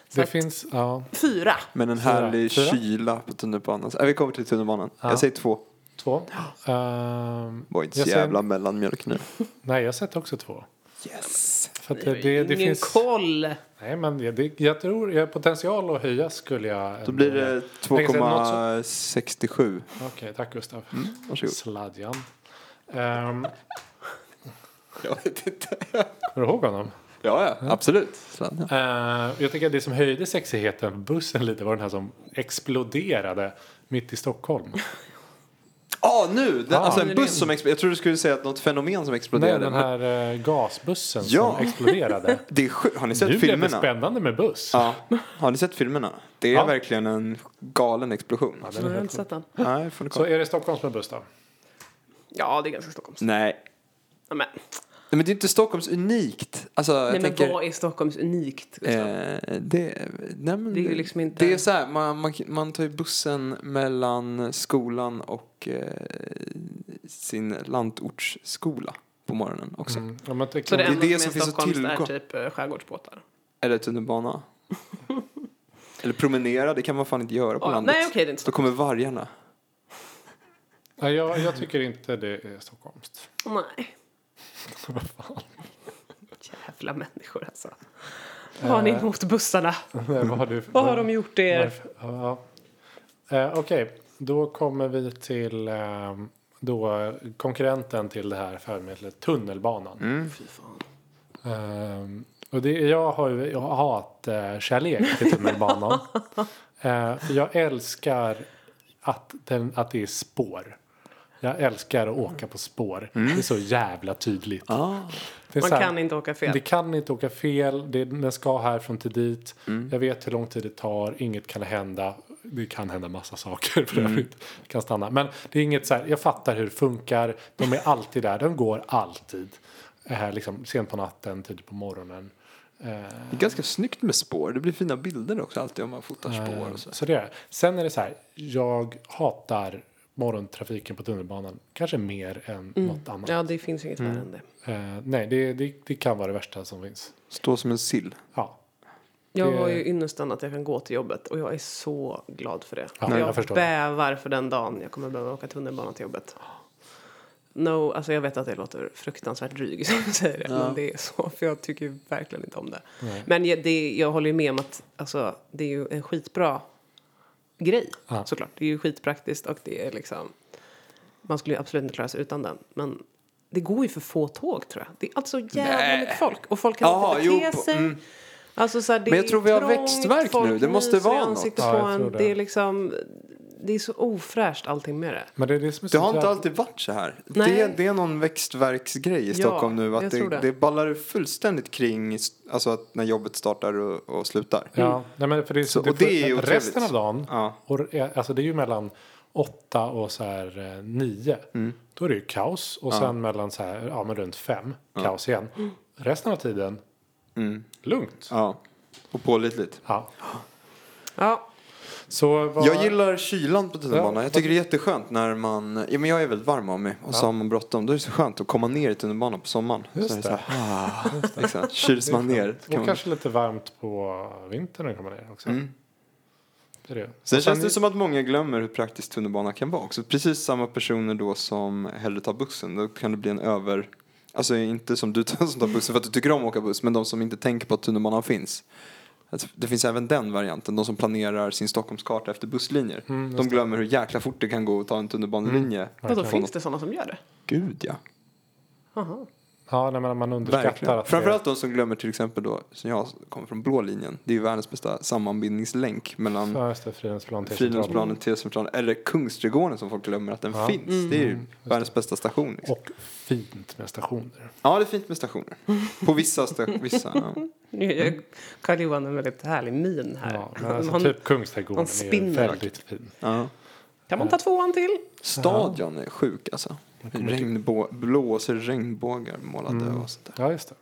Speaker 1: Så
Speaker 4: Det
Speaker 1: att,
Speaker 4: finns, ja.
Speaker 1: fyra.
Speaker 2: Men en
Speaker 4: Fyra.
Speaker 2: härlig
Speaker 4: Fyra.
Speaker 2: kyla på tunnelbanan. Äh, vi kommer till tunnelbanan.
Speaker 4: Ja.
Speaker 2: Jag säger två.
Speaker 4: Två. Ehm,
Speaker 2: Var inte så
Speaker 4: jag säger-
Speaker 2: jävla mellanmjölk nu.
Speaker 4: Nej, jag sätter också två.
Speaker 2: Yes.
Speaker 4: För att det, det, det
Speaker 1: Ingen
Speaker 4: finns...
Speaker 1: koll.
Speaker 4: Nej, men det- det, jag tror jag har potential att höja skulle jag...
Speaker 2: Då blir det
Speaker 4: Jag kan säga något
Speaker 2: 2,67.
Speaker 4: Okej, tack Gustav.
Speaker 2: Mm,
Speaker 4: [laughs]
Speaker 2: Varsågod.
Speaker 4: Sladjan. Um,
Speaker 2: Jag vet inte.
Speaker 4: kommer du ihåg honom?
Speaker 2: Ja, ja. Absolut. Sladden.
Speaker 4: Eh, jag tycker att det som höjde sexigheten på bussen lite var den här som exploderade mitt i Stockholm.
Speaker 2: Ah, nu! Den,
Speaker 4: Ah.
Speaker 2: Alltså en buss som exploderade. Jag trodde du skulle säga att något fenomen som
Speaker 4: Nej,
Speaker 2: exploderade.
Speaker 4: den här eh, gasbussen
Speaker 2: Ja. [laughs]
Speaker 4: som exploderade.
Speaker 2: Det är sjukt. Har ni
Speaker 4: Nu
Speaker 2: sett
Speaker 4: blev det
Speaker 2: filmerna?
Speaker 4: spännande med buss.
Speaker 2: Ja. [laughs] Har ni sett filmerna? Det är
Speaker 4: Ja.
Speaker 2: verkligen en galen explosion.
Speaker 4: Ja,
Speaker 1: Jag
Speaker 4: den är
Speaker 1: har
Speaker 4: helt
Speaker 1: inte sett den.
Speaker 2: Nej, får ni
Speaker 4: Så
Speaker 2: kolla.
Speaker 4: är det Stockholms med buss då?
Speaker 1: Ja, det är ganska Stockholms.
Speaker 2: Nej.
Speaker 1: Ja, Men,
Speaker 2: Nej, Men det är inte Stockholms unikt. Alltså, jag
Speaker 1: nej,
Speaker 2: tänker...
Speaker 1: men vad är Stockholms unikt? Gustav?
Speaker 2: Eh, det, nej men
Speaker 1: Det är ju liksom inte-
Speaker 2: det är så här, man, man, man tar ju bussen mellan skolan och eh, sin lantortsskola på morgonen också.
Speaker 4: Mm. Ja, men
Speaker 1: Så det
Speaker 2: är
Speaker 1: enda
Speaker 2: det
Speaker 1: som är
Speaker 2: som finns att
Speaker 1: Stockholms är
Speaker 2: tillgå.
Speaker 1: typ eh, skärgårdsbåtar.
Speaker 2: Eller
Speaker 1: [laughs]
Speaker 2: tunnelbana. Eller promenera, det kan man fan inte göra på
Speaker 1: Ja,
Speaker 2: landet.
Speaker 1: nej, okej, det är inte
Speaker 2: Då
Speaker 1: Stockholm.
Speaker 2: kommer vargarna.
Speaker 4: Nej, jag, jag tycker inte det är stockholmskt.
Speaker 2: [laughs]
Speaker 1: Nej. Jävla människor alltså.
Speaker 2: Eh.
Speaker 1: Vad har ni emot bussarna?
Speaker 4: [laughs] Nej, vad har du
Speaker 1: Vad har de gjort er?
Speaker 4: Varför? Ja. Eh, Okej, då kommer vi till eh, då konkurrenten till det här färdmedlet, tunnelbanan.
Speaker 1: Mm.
Speaker 4: Eh, och det, jag har ju jag har hat, eh, kärlek
Speaker 1: [laughs]
Speaker 4: till tunnelbanan. Eh, för jag älskar att, den, att det är spår. Jag älskar att åka på spår. Det är så jävla tydligt.
Speaker 2: Ah.
Speaker 4: Det är
Speaker 1: Mm. Man
Speaker 4: så här-
Speaker 1: kan inte åka fel.
Speaker 4: det kan inte åka fel. Det, den ska härifrån till dit.
Speaker 2: Mm.
Speaker 4: Jag vet hur lång tid det tar. Inget kan hända. Det kan hända massa saker för
Speaker 2: Mm.
Speaker 4: övrigt. Det kan stanna. Men det är inget så här. Jag fattar hur det funkar. De är alltid där. De går alltid. Eh, liksom, sent på natten, tidigt på morgonen. Eh,
Speaker 2: Det är ganska snyggt med spår, det blir fina bilder också alltid om man fotar spår och så.
Speaker 4: så det är det. Sen är det så här. Jag hatar morgontrafiken på tunnelbanan. Kanske mer än
Speaker 2: Mm.
Speaker 4: något annat.
Speaker 1: Ja, det finns inget värre än det.
Speaker 4: Eh, nej, det, det, det kan vara det värsta som finns.
Speaker 2: Stå som en sill.
Speaker 4: Ja,
Speaker 1: Jag
Speaker 4: Det-
Speaker 1: har ju ynnesten att jag kan gå till jobbet och jag är så glad för det.
Speaker 4: Ja, jag
Speaker 1: jag
Speaker 4: förstår.
Speaker 1: bävar för den dagen jag kommer behöva åka tunnelbana till jobbet. No, alltså jag vet att det låter fruktansvärt dryg [laughs] som du säger det, men det är så, för jag tycker ju verkligen inte om det. Men jag, det, jag håller ju med om att alltså, det är ju en skitbra grej,
Speaker 4: Ja.
Speaker 1: såklart. Det är ju skitpraktiskt och det är liksom, man skulle ju absolut inte klara sig utan den. Men det går ju för få tåg tror jag. Det är alltså jävla
Speaker 2: Nej.
Speaker 1: mycket folk och folk kan
Speaker 2: Ja,
Speaker 1: inte bete
Speaker 2: jo, på-
Speaker 1: sig.
Speaker 2: mm.
Speaker 1: Alltså så här, det
Speaker 2: Men jag
Speaker 1: är
Speaker 2: tror vi har
Speaker 1: trångt,
Speaker 2: växtvärk
Speaker 1: folk
Speaker 2: nu. Det måste
Speaker 1: nyser i
Speaker 2: vara något.
Speaker 1: ansiktet
Speaker 4: Ja,
Speaker 1: på
Speaker 4: jag tror
Speaker 1: en.
Speaker 4: det.
Speaker 1: Det är liksom... Det är så ofräscht allting med det.
Speaker 4: men det är det som är
Speaker 2: Det
Speaker 4: så
Speaker 2: har inte
Speaker 4: jävla-
Speaker 2: alltid varit så här.
Speaker 1: Nej.
Speaker 2: Det, det är någon växtverksgrej i Stockholm nu.
Speaker 1: jag
Speaker 2: Att
Speaker 1: tror
Speaker 2: det,
Speaker 1: det.
Speaker 2: det. ballar fullständigt kring alltså att när jobbet startar och, och slutar.
Speaker 4: Ja, nej, men för det, är-
Speaker 2: Mm. Så-
Speaker 4: det,
Speaker 2: och det är ju
Speaker 4: resten av
Speaker 2: otrevligt.
Speaker 4: dagen,
Speaker 2: Ja.
Speaker 4: och, eh, alltså det är ju mellan åtta och så här eh, nio.
Speaker 2: Mm.
Speaker 4: Då är det ju kaos. Och sen mellan så här, ja men runt fem, kaos igen. Resten av tiden,
Speaker 2: Mm.
Speaker 4: lugnt. Ja.
Speaker 2: Ja. Och pålitligt.
Speaker 1: Ja,
Speaker 4: Så vad,
Speaker 2: Jag gillar kylan på
Speaker 4: Ja,
Speaker 2: tunnelbanan.
Speaker 4: vad-
Speaker 2: Jag tycker det är jätteskönt när man... Ja, men jag är väldigt varm av mig och så har man bråttom. Då är det så skönt att komma ner i tunnelbanan på sommaren.
Speaker 4: Just
Speaker 2: så är det. Så här, ah, liksom. Kyls man ner.
Speaker 4: och
Speaker 2: Kan man... Mm.
Speaker 4: kanske lite varmt på vintern när det kommer ner också. Det är det.
Speaker 2: Sen
Speaker 4: Och
Speaker 2: känns det som att många glömmer hur praktiskt tunnelbana kan vara också. Precis samma personer då som hellre tar bussen. Då kan det bli en över... Alltså inte som du [laughs] tar- som tar bussen för att du tycker om att åka buss. Men de som inte tänker på att tunnelbanan finns. Alltså, Det finns även den varianten. De som planerar sin Stockholmskarta efter busslinjer.
Speaker 4: Mm,
Speaker 2: de glömmer hur jäkla fort det kan gå att ta en tunnelbanelinje.
Speaker 1: vadå, finns det sådana som gör det?
Speaker 2: Gud ja.
Speaker 1: Aha.
Speaker 4: Ja, nej, men man underskattar
Speaker 2: Verkligen.
Speaker 4: att
Speaker 2: Framförallt de som glömmer till exempel då, som jag kommer från blå linjen. Det är ju världens bästa sammanbindningslänk
Speaker 4: det
Speaker 2: mellan
Speaker 4: Ja, just det, Fridhemsplan till Centralen.
Speaker 2: Fridhemsplanen, T-centralen eller Kungsträdgården som folk glömmer att den finns.
Speaker 1: Mm.
Speaker 2: Det är ju världens bästa station. Liksom.
Speaker 4: Mm, Och fint med stationer.
Speaker 2: Ja, det är fint med stationer. På vissa stationer. Vissa, ja.
Speaker 4: [laughs]
Speaker 1: Nu gör Karl-Johan en väldigt härlig min här.
Speaker 4: Mm. Ja,
Speaker 1: [laughs]
Speaker 4: men alltså,
Speaker 1: han,
Speaker 4: typ Kungsträdgården
Speaker 1: han
Speaker 4: är ju
Speaker 1: spinner.
Speaker 4: väldigt fin.
Speaker 2: Ja.
Speaker 1: Kan man ta tvåan till?
Speaker 2: Stadion är sjuk alltså. Regnbå- blåser regnbågar målade
Speaker 4: Mm.
Speaker 2: och sånt där.
Speaker 4: Ja, just det.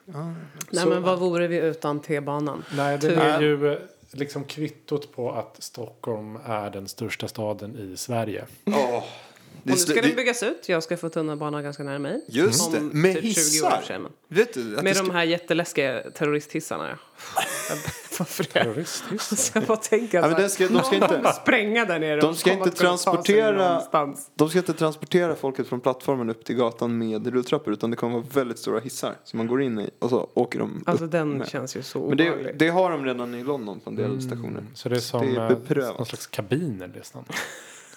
Speaker 1: Nej, men vad vore vi utan T-banan?
Speaker 4: Nej, det
Speaker 1: Tur.
Speaker 4: är ju eh, liksom kvittot på att Stockholm är den största staden i Sverige.
Speaker 2: Åh, det är
Speaker 1: Och nu ska
Speaker 2: slu-
Speaker 1: den
Speaker 2: det-
Speaker 1: byggas ut. Jag ska få tunnelbana ganska nära mig.
Speaker 2: Just det,
Speaker 1: Om
Speaker 2: med
Speaker 1: typ 20 år
Speaker 2: hissar.
Speaker 1: sedan.
Speaker 2: Vet du, att
Speaker 1: Med
Speaker 2: det ska-
Speaker 1: de här jätteläskiga terroristhissarna.
Speaker 4: [laughs]
Speaker 1: ja. Jag bävar för det.
Speaker 4: Terroristhiss.
Speaker 1: [laughs] Så jag bara tänker
Speaker 2: Ja, men den ska- de ska
Speaker 1: någon
Speaker 2: inte-
Speaker 1: kommer spränga där nere.
Speaker 2: De
Speaker 1: och
Speaker 2: ska
Speaker 1: kommer
Speaker 2: inte
Speaker 1: kunna ta sig
Speaker 2: transportera-
Speaker 1: någonstans.
Speaker 2: De ska inte transportera folket från plattformen upp till gatan med rulltrappor utan det kommer vara väldigt stora hissar som man går in i och så åker de
Speaker 1: Alltså
Speaker 2: upp
Speaker 1: den
Speaker 2: med.
Speaker 1: känns ju så
Speaker 2: Men det,
Speaker 1: obehaglig.
Speaker 2: det har de redan i London på en del stationer.
Speaker 4: Mm, Så det är som
Speaker 2: Det är
Speaker 4: eh,
Speaker 2: beprövat.
Speaker 4: någon slags kabiner nästan.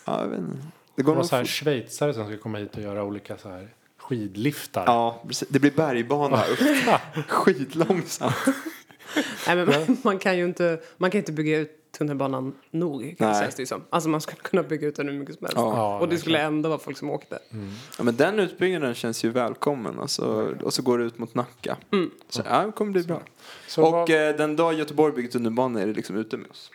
Speaker 2: Ja, jag vet inte. Det
Speaker 4: Det
Speaker 2: går
Speaker 4: var
Speaker 2: nog
Speaker 4: så här
Speaker 2: fort.
Speaker 4: schweizare som skulle komma hit och göra olika så här skidliftar.
Speaker 2: Ja, precis. Det blir bergbana
Speaker 4: [laughs]
Speaker 2: upp. Skitlångsamt.
Speaker 1: Nej, men [laughs] man kan ju inte, man kan inte bygga ut tunnelbanan nog,
Speaker 2: Nej.
Speaker 1: känns det ju som. Alltså man skulle kunna bygga ut den hur mycket som helst.
Speaker 2: Ja. Ja,
Speaker 1: och det skulle ändå vara folk som åkte.
Speaker 2: Ja, men den utbyggnaden känns ju välkommen. Alltså, och så går det ut mot Nacka. Så ja, det kommer bli bra.
Speaker 4: Så
Speaker 2: Och
Speaker 4: vad-
Speaker 2: eh, den dag Göteborg bygger tunnelbana är det liksom ute med oss.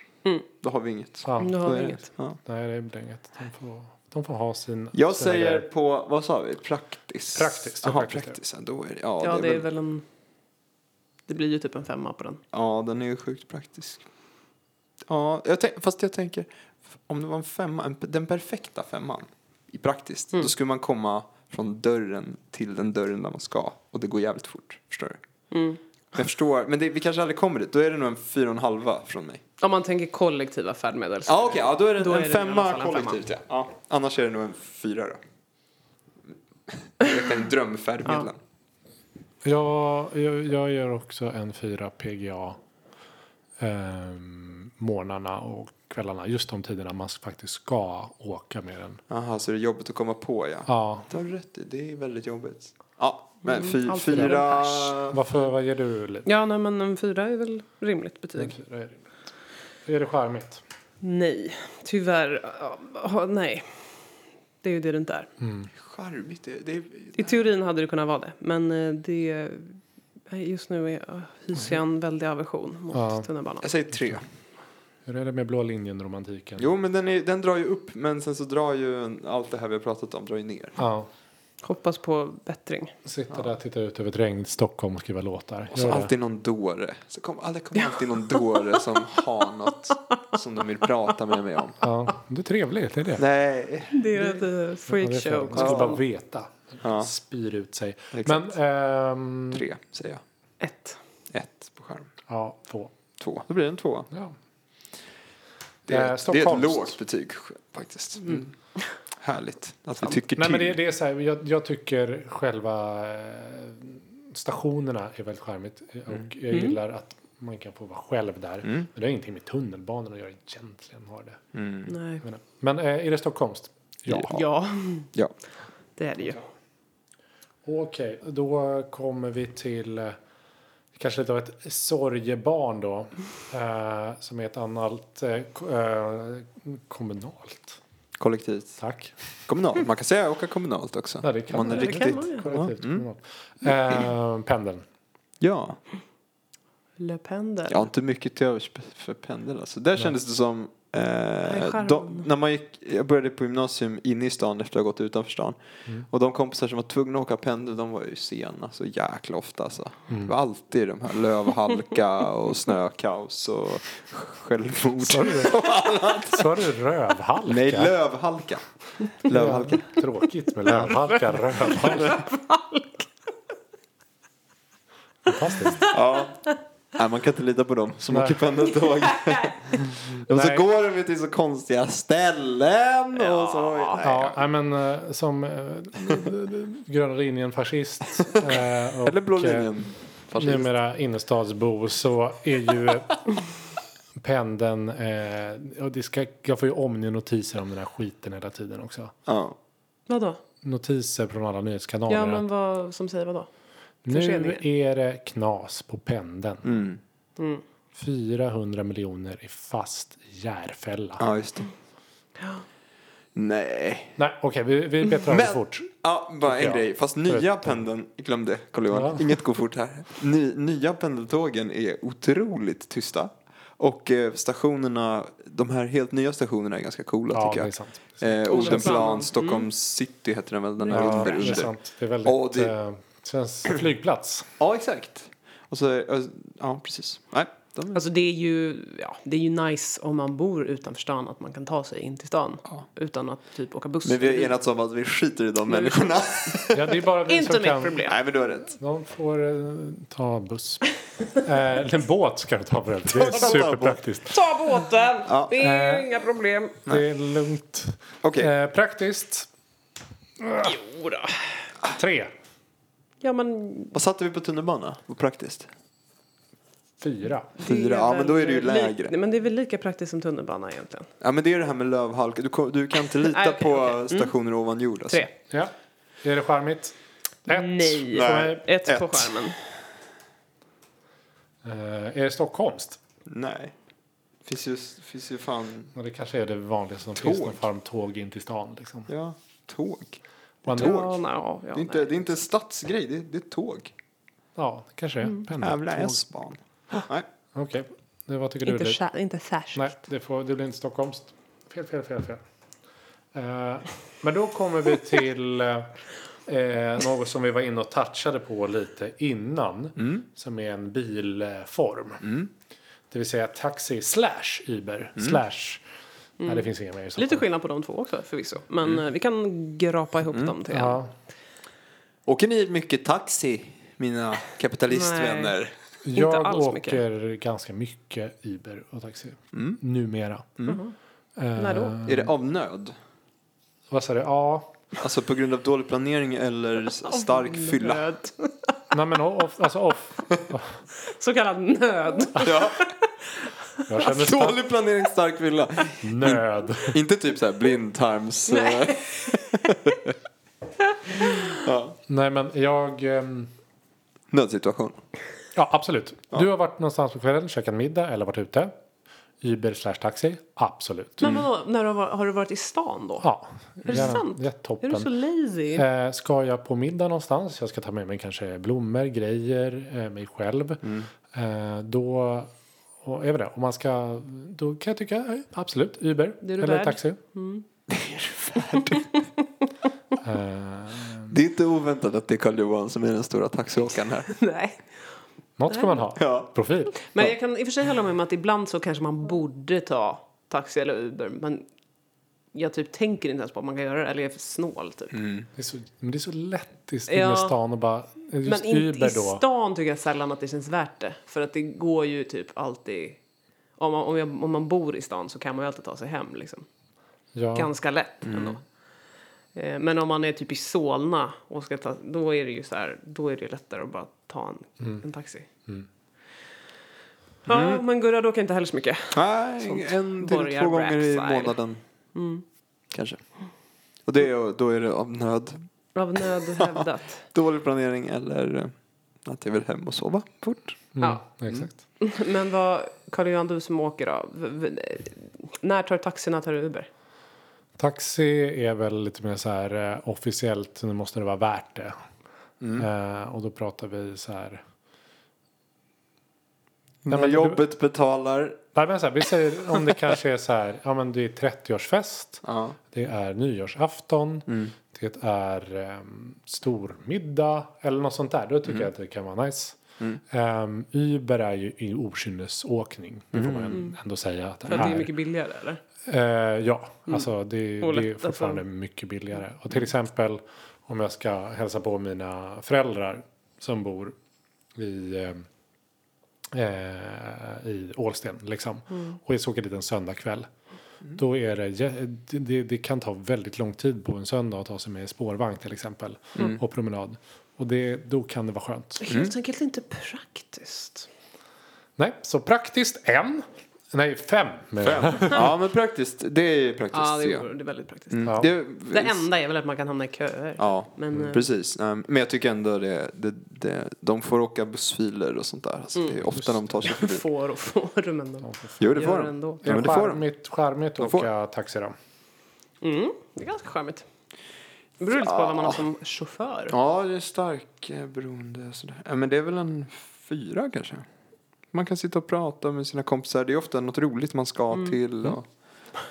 Speaker 2: Då har vi inget.
Speaker 4: Ja,
Speaker 1: Nu
Speaker 2: Då
Speaker 1: har
Speaker 2: är
Speaker 1: vi
Speaker 2: det-
Speaker 1: inget.
Speaker 2: Ja.
Speaker 4: nej, det blir inget. De får, de får ha sin...
Speaker 2: Jag
Speaker 4: sina
Speaker 2: säger
Speaker 4: grejer.
Speaker 2: på, vad sa vi? Praktis.
Speaker 4: Praktiskt, ja,
Speaker 2: Jaha,
Speaker 4: praktiskt,
Speaker 2: praktis. Ja, då är det, ja,
Speaker 1: Ja,
Speaker 2: det är väl,
Speaker 1: väl en... Det blir ju typ en femma på den.
Speaker 2: ja, den är ju sjukt praktisk. Ja, jag tänk, fast jag tänker, om det var en femma, en, den perfekta femman i praktiskt,
Speaker 1: Mm.
Speaker 2: då skulle man komma från dörren till den dörren där man ska. Och det går jävligt fort, förstår du?
Speaker 1: Mm.
Speaker 2: Jag förstår, men det, vi kanske aldrig kommer dit. Då är det nog en fyra och en halva från mig.
Speaker 1: Om man tänker kollektiva färdmedel. så-
Speaker 2: Ja, okej, ja, då är det
Speaker 1: Då
Speaker 2: en
Speaker 1: är det i alla fall
Speaker 2: femma
Speaker 1: en femma.
Speaker 2: kollektivt. Ja. Ja. Annars är det nog en fyra
Speaker 1: [laughs]
Speaker 2: då. Det är en drömfärdmedlen.
Speaker 4: Ja, jag, jag gör också en fyra PGA. Um, morgnarna och kvällarna. Just de tiderna man faktiskt ska åka med den.
Speaker 2: Jaha, så det är jobbigt att komma på ja.
Speaker 4: Ja.
Speaker 2: Det har du rätt i, det är väldigt jobbigt. Mm, Ja, men fy,
Speaker 1: allt för lång
Speaker 2: fyra...
Speaker 1: pers.
Speaker 4: Varför, vad ger du Liv?
Speaker 1: Ja, nej, men en fyra är väl rimligt betyg.
Speaker 2: Mm.
Speaker 4: En fyra är rimligt. Är det charmigt?
Speaker 1: Nej, tyvärr. ja, ja, nej. Det är ju det det inte är.
Speaker 4: Mm.
Speaker 2: Charmigt, det, det är...
Speaker 1: I teorin hade det kunnat vara det, men eh, det... nej, Just nu är, eh, hyser jag en väldig aversion mot
Speaker 4: Ja.
Speaker 1: tunnelbanan.
Speaker 2: Jag säger tre.
Speaker 4: Hur är det med blå linjen-romantiken?
Speaker 2: Jo, men den, är, den drar ju upp, men sen så drar ju allt det här vi har pratat om drar ju ner.
Speaker 4: Ja.
Speaker 1: Hoppas på bättring.
Speaker 4: Sitta där, titta ut över ett regn, Stockholm och skriva låtar.
Speaker 2: Och så
Speaker 4: Gör det.
Speaker 2: alltid någon dåre. Så kom, ah, det kommer alltid någon dåre som har något som de vill prata med mig om.
Speaker 4: Ja, det är trevligt, det är det.
Speaker 2: Nej.
Speaker 1: Det är ett eh, freakshow.
Speaker 4: Man skulle bara veta.
Speaker 2: Ja.
Speaker 4: Spyr ut sig.
Speaker 2: Exakt.
Speaker 4: Men, ehm,
Speaker 2: Tre säger jag.
Speaker 1: Ett.
Speaker 2: Ett på skärm.
Speaker 4: ja, två.
Speaker 2: Två. Då blir det en tvåa.
Speaker 4: Ja.
Speaker 2: Det är,
Speaker 4: Eh,
Speaker 2: det är ett
Speaker 4: Stockholms. Mm.
Speaker 2: lågt betyg faktiskt. Härligt att vi tycker
Speaker 4: Nej,
Speaker 2: till.
Speaker 4: men det, det är så här, jag, jag tycker själva eh, stationerna är väldigt charmigt. eh,
Speaker 2: Mm.
Speaker 4: Och jag gillar att man kan få vara själv där. Men det har ingenting med tunnelbanan att göra egentligen. Har det.
Speaker 2: Mm.
Speaker 1: Nej.
Speaker 4: Men, men eh, är det Stockholmskt?
Speaker 2: Ja.
Speaker 1: Ja,
Speaker 2: ja.
Speaker 1: det är det ju.
Speaker 4: Okej, då kommer vi till eh, kanske lite av ett sorgebarn då. Eh, som är ett annat eh, ko- eh, kommunalt.
Speaker 2: Kollektivt.
Speaker 4: Tack.
Speaker 2: Kommunalt. Man kan säga åka kommunalt också.
Speaker 4: Ja, det kan
Speaker 2: man är
Speaker 4: man.
Speaker 1: Det
Speaker 2: riktigt. Mm.
Speaker 1: kan man ju.
Speaker 4: Kollektivt kommunalt. Eh, pendeln.
Speaker 2: Ja.
Speaker 1: Le Pendel.
Speaker 2: Jag har inte mycket till övers för pendeln. Alltså. Där kändes det som... Eh,
Speaker 1: charmen.
Speaker 2: de, när man gick, jag började på gymnasium inne i stan efter att ha gått utanför stan. Och de kompisar som var tvungna att åka pendel, de var ju sena så jäkla ofta. Alltså. Det var alltid de här lövhalka och snökaos och självmord.
Speaker 4: Sa du, sa du rövhalka?
Speaker 2: Nej, lövhalka. Lövhalka.
Speaker 4: Tråkigt med [laughs] lövhalka, rövhalka. Fantastiskt. [laughs]
Speaker 2: Ja. Nej, man kan inte lita på dem som
Speaker 4: Nej.
Speaker 2: åker
Speaker 4: [laughs]
Speaker 2: pendeltåg. och så
Speaker 4: Nej.
Speaker 2: går de ju till så konstiga ställen. Och så, nej.
Speaker 4: Ja, nej, men eh, som eh, gröna linjen fascist eh, och
Speaker 2: [laughs] Eller blå
Speaker 4: eh,
Speaker 2: linjen. Fascist.
Speaker 4: numera innerstadsbo så är ju eh, pendeln, eh, och det ska, jag får ju omni-notiser om den här skiten hela tiden också.
Speaker 2: Ja.
Speaker 1: Vadå?
Speaker 4: Notiser från alla nyhetskanaler.
Speaker 1: Ja, men
Speaker 4: att
Speaker 1: vad som säger vadå?
Speaker 4: nu
Speaker 1: förseningar.
Speaker 4: är det knas på pendeln.
Speaker 2: Mm.
Speaker 4: 400 miljoner i fast järfälla.
Speaker 2: ja, just det. Nej.
Speaker 4: Nej, okej, vi, vi bättrar
Speaker 2: Men-
Speaker 4: oss fort.
Speaker 2: Ja, bara en
Speaker 4: Ja.
Speaker 2: grej. Fast nya pendeln, glöm det karl johan
Speaker 4: Ja.
Speaker 2: Inget går fort här. Ny, nya pendeltågen är otroligt tysta. Och eh, stationerna, de här helt nya stationerna är ganska coola
Speaker 4: Ja,
Speaker 2: tycker
Speaker 4: det
Speaker 2: jag.
Speaker 4: är sant.
Speaker 2: Eh,
Speaker 1: Odenplan.
Speaker 2: Odenplan, Stockholm city heter den väl, den här
Speaker 4: Ja,
Speaker 2: under,
Speaker 4: det är
Speaker 2: under.
Speaker 4: sant. Det är väldigt...
Speaker 2: Ja, det-
Speaker 4: eh, känns flygplats.
Speaker 2: Ja, exakt. Och så, eh, ja precis. Nej, de,
Speaker 1: Alltså det är ju, ja, det är ju nice om man bor utanför stan att man kan ta sig in till stan utan att typ åka buss.
Speaker 2: men vi har enats om att vi skiter i de människorna. [laughs]
Speaker 4: Ja, det är bara vi
Speaker 1: [laughs] Inte
Speaker 4: som
Speaker 1: mitt
Speaker 4: kan...
Speaker 1: problem.
Speaker 2: Nej, men du har rätt.
Speaker 4: De får eh, ta buss. eh, eller en båt ska de ta för övrigt. Det är
Speaker 2: [laughs] Ta- ta
Speaker 4: superpraktiskt.
Speaker 1: Ta båten!
Speaker 2: Ja.
Speaker 1: Det är ju
Speaker 4: Eh.
Speaker 1: inga problem.
Speaker 4: Det är lugnt.
Speaker 2: Okej.
Speaker 4: Eh, praktiskt.
Speaker 1: Jodå.
Speaker 4: Tre.
Speaker 1: Ja, men
Speaker 2: Vad satte vi på tunnelbana? Vad praktiskt.
Speaker 4: Fyra.
Speaker 1: det
Speaker 2: Fyra, ja
Speaker 1: väl
Speaker 2: men då är det ju
Speaker 1: li-
Speaker 2: lägre.
Speaker 1: Nej, men det är väl lika praktiskt som tunnelbana egentligen.
Speaker 2: Ja men det är det här med lövhalka. Du, kom- du
Speaker 1: [laughs]
Speaker 2: kan inte lita
Speaker 1: Nej, okej,
Speaker 2: på
Speaker 1: okej. Mm.
Speaker 2: stationer ovan jord. Alltså.
Speaker 1: Tre.
Speaker 4: Ja. Är det charmigt? Ett.
Speaker 1: Nej.
Speaker 4: För mig.
Speaker 1: Ett, på
Speaker 2: Ett.
Speaker 1: skärmen.
Speaker 4: Eh, är det stockholmskt?
Speaker 2: Nej. Finns ju, finns ju fan...
Speaker 4: Ja, det kanske är det vanligaste som
Speaker 2: Tåg.
Speaker 4: finns när farm tåg in till stan. Liksom.
Speaker 2: Ja, tåg.
Speaker 4: Man,
Speaker 2: Tåg.
Speaker 1: Ja, no, ja,
Speaker 2: Det är inte,
Speaker 1: nej.
Speaker 2: det är inte en stadsgrej, det är, det är tåg.
Speaker 4: Ja, det kanske är.
Speaker 2: Mm. Jävla
Speaker 4: Pendeltåg.
Speaker 2: S-ban. Nej.
Speaker 4: Okej, det, vad tycker
Speaker 1: inte,
Speaker 4: du? Lid?
Speaker 1: skär- inte särskilt.
Speaker 4: Nej, det, får, det blir inte stockholmskt. Fel, fel, fel, fel. Eh, men då kommer vi till eh, något som vi var inne och touchade på lite innan.
Speaker 2: Mm.
Speaker 4: Som är en bilform. Det vill säga taxi slash Uber
Speaker 2: Mm.
Speaker 4: slash... Nej, det finns inga mer i så
Speaker 1: Lite
Speaker 4: fall.
Speaker 1: skillnad på de två också förvisso. Men eh, vi kan grapa ihop dem till en.
Speaker 4: Mm. Ja.
Speaker 2: Åker ni mycket taxi, mina kapitalistvänner?
Speaker 4: Jag
Speaker 1: alls
Speaker 4: åker
Speaker 1: mycket. Mm.
Speaker 4: ganska mycket Uber och taxi. Numera. Eh,
Speaker 1: När då?
Speaker 2: Är det av nöd?
Speaker 4: Vad sa du? Ja,
Speaker 2: Alltså på grund av dålig planering eller s- stark fylla?
Speaker 1: Nöd. [laughs]
Speaker 4: Nej men off, alltså off.
Speaker 1: Så kallad
Speaker 4: Mm.
Speaker 1: nöd.
Speaker 2: [laughs] [laughs] Ja,
Speaker 4: Jag
Speaker 1: Alltså,
Speaker 4: känner stark
Speaker 2: dålig planering, stark fylla.
Speaker 4: nöd.
Speaker 2: Inte typ så här blindtarms...
Speaker 1: Nej.
Speaker 2: [laughs] ja,
Speaker 4: Nej men jag, ehm,
Speaker 2: nödsituation.
Speaker 4: ja absolut. Du har varit någonstans på kvällen, käkat middag eller varit ute. Uber slash taxi, absolut.
Speaker 1: Men vadå, när du har, har du varit i stan då?
Speaker 4: Ja, är
Speaker 1: det sant? Är
Speaker 4: Jättetoppen.
Speaker 1: du så lazy?
Speaker 4: Eh, ska jag på middag någonstans, jag ska ta med mig kanske blommor, grejer, eh, mig själv.
Speaker 1: Mm.
Speaker 4: Eh, då, och, är det, om man ska, då kan jag tycka eh, absolut Uber
Speaker 1: Det är du Mm.
Speaker 4: [laughs] eller
Speaker 1: värd.
Speaker 4: taxi. Eh,
Speaker 2: Det är du värd. Det är inte oväntat att det är Karl Johan som är den stora taxiåkaren här.
Speaker 1: [laughs] Nej.
Speaker 4: Något ska man ha.
Speaker 2: Ja.
Speaker 4: Profil.
Speaker 1: Men jag kan i och för sig hålla med om att ibland så kanske man borde ta taxi eller Uber. Men jag typ tänker inte ens på att man kan göra det. Eller jag är för snål typ.
Speaker 4: Det är så, men det är så lätt i
Speaker 1: Ja.
Speaker 4: ja. stan och bara... Just
Speaker 1: men inte
Speaker 4: Uber
Speaker 1: i
Speaker 4: då.
Speaker 1: stan tycker jag sällan att det känns värt det. För att det går ju typ alltid... Om man, om, jag, om man bor i stan så kan man ju alltid ta sig hem liksom.
Speaker 4: Ja. mm,
Speaker 1: Ganska lätt ändå. Eh, Men om man är typ i Solna och ska ta, då är det ju så här, då är det lättare att bara ta en,
Speaker 4: Mm.
Speaker 1: en taxi. Ja, men Gurra, då kan inte heller så mycket.
Speaker 2: Nej, en till
Speaker 1: borgar Mm.
Speaker 2: två gånger i
Speaker 1: rap-style.
Speaker 2: månaden. Kanske. Och det är, då är det av nöd.
Speaker 1: Av nöd
Speaker 4: [laughs]
Speaker 1: hävdat.
Speaker 2: Dålig planering eller eh, att jag vill hem och sova fort.
Speaker 4: Mm, Exakt.
Speaker 1: Men vad, Carl-Johan, du som åker då. v- v- När tar du taxi, när tar du Uber?
Speaker 4: Taxi är väl lite mer så här eh, officiellt, nu måste det vara värt det. Eh, och då pratar vi så här.
Speaker 2: När
Speaker 4: men du-
Speaker 2: jobbet betalar.
Speaker 4: Nej, men så här vi säger om det kanske är så här, ja men det är 30-årsfest,
Speaker 2: Ja.
Speaker 4: det är nyårsafton, det är um, stormiddag eller något sånt där. Då tycker jag att det kan vara nice. Ehm, Uber är ju i okynnesåkning, det får man ändå säga. Att
Speaker 1: För att det är mycket billigare, eller?
Speaker 4: Eh, ja, alltså det,
Speaker 1: Och
Speaker 4: det är
Speaker 1: lätt,
Speaker 4: fortfarande
Speaker 1: alltså.
Speaker 4: mycket billigare. Och till exempel om jag ska hälsa på mina föräldrar som bor i, eh, eh, i Ålsten liksom. Och jag ska åka dit en söndagkväll. Då är det, jä- det- det, det kan ta väldigt lång tid på en söndag att ta sig med spårvagn till exempel. Och promenad. Och det, då kan det vara skönt.
Speaker 2: Mm.
Speaker 1: Helt enkelt inte praktiskt.
Speaker 4: Nej, så praktiskt en. Nej, fem. [laughs] Men,
Speaker 2: ja, men praktiskt. Det är praktiskt.
Speaker 1: Ja, det
Speaker 2: ser jag.
Speaker 1: är, det är väldigt praktiskt.
Speaker 2: Mm.
Speaker 4: Ja.
Speaker 2: Det-
Speaker 1: Det enda är väl att man kan hamna i köer.
Speaker 2: Ja,
Speaker 1: Men,
Speaker 2: mm,
Speaker 1: eh,
Speaker 2: precis. Nej, Men jag tycker ändå det, det, det de får åka bussfiler och sånt där. Alltså, det är ofta de tar sig förbi.
Speaker 1: Mm. [laughs] Får och får, men eh, de...
Speaker 2: Jo, det
Speaker 1: Gör
Speaker 2: får de.
Speaker 1: ändå.
Speaker 2: Ja, men det får de.
Speaker 4: charmigt, charmigt
Speaker 2: De
Speaker 4: att
Speaker 2: får.
Speaker 4: åka taxi då.
Speaker 1: Mm, det är ganska charmigt. Det beror lite på vad man har som chaufför.
Speaker 2: Ja, det är stark eh, beroende. Sådär. Ja, men det är väl en fyra kanske. Man kan sitta och prata med sina kompisar. Det är ofta något roligt man ska
Speaker 1: Mm.
Speaker 2: till. Och,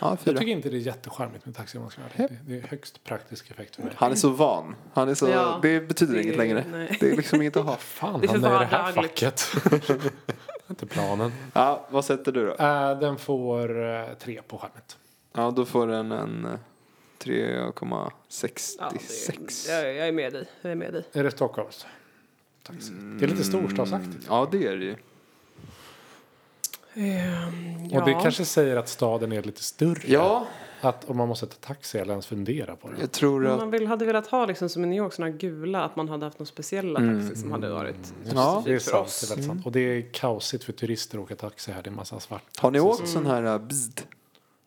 Speaker 2: ja,
Speaker 4: Jag
Speaker 2: fyra.
Speaker 4: tycker inte det är jättecharmigt med taxi om man ska vara ärlig. Det det är högst praktisk effekt för mig.
Speaker 2: Han är så van. Han är så,
Speaker 1: Ja.
Speaker 2: det betyder
Speaker 1: Det-
Speaker 2: inget längre.
Speaker 1: nej.
Speaker 2: Det är liksom inget att
Speaker 1: [laughs]
Speaker 2: ha.
Speaker 4: Fan,
Speaker 1: Det är för
Speaker 4: han är i det här
Speaker 1: vardagligt.
Speaker 4: facket.
Speaker 2: [laughs]
Speaker 4: inte planen.
Speaker 2: Ja, vad sätter du då?
Speaker 4: Eh, den får eh, tre på skärmet.
Speaker 2: Ja, då får den en eh,
Speaker 1: Ja,
Speaker 2: 3,66.
Speaker 1: det, jag, jag är med dig. Jag är med dig.
Speaker 4: Är det Stockholms? Taxi. Det är
Speaker 2: Mm.
Speaker 4: lite storstadsaktigt.
Speaker 2: Ja, det är det ju. Ehm,
Speaker 4: Och det kanske säger att staden är lite större.
Speaker 2: Ja,
Speaker 4: Att om man måste ta taxi eller ens fundera på det.
Speaker 2: jag tror
Speaker 1: Om
Speaker 2: att...
Speaker 1: man vill, hade velat ha liksom som i New York sådana gula att man hade haft någon speciella
Speaker 2: Mm.
Speaker 1: taxi som hade varit
Speaker 2: Ja,
Speaker 4: det är
Speaker 1: specifikt för
Speaker 4: sant. Det är
Speaker 1: oss.
Speaker 4: väldigt sant. Och det är kaosigt för turister att åka taxi här. Det är en massa svart.
Speaker 2: Har ni åkt sån här eh, bzd?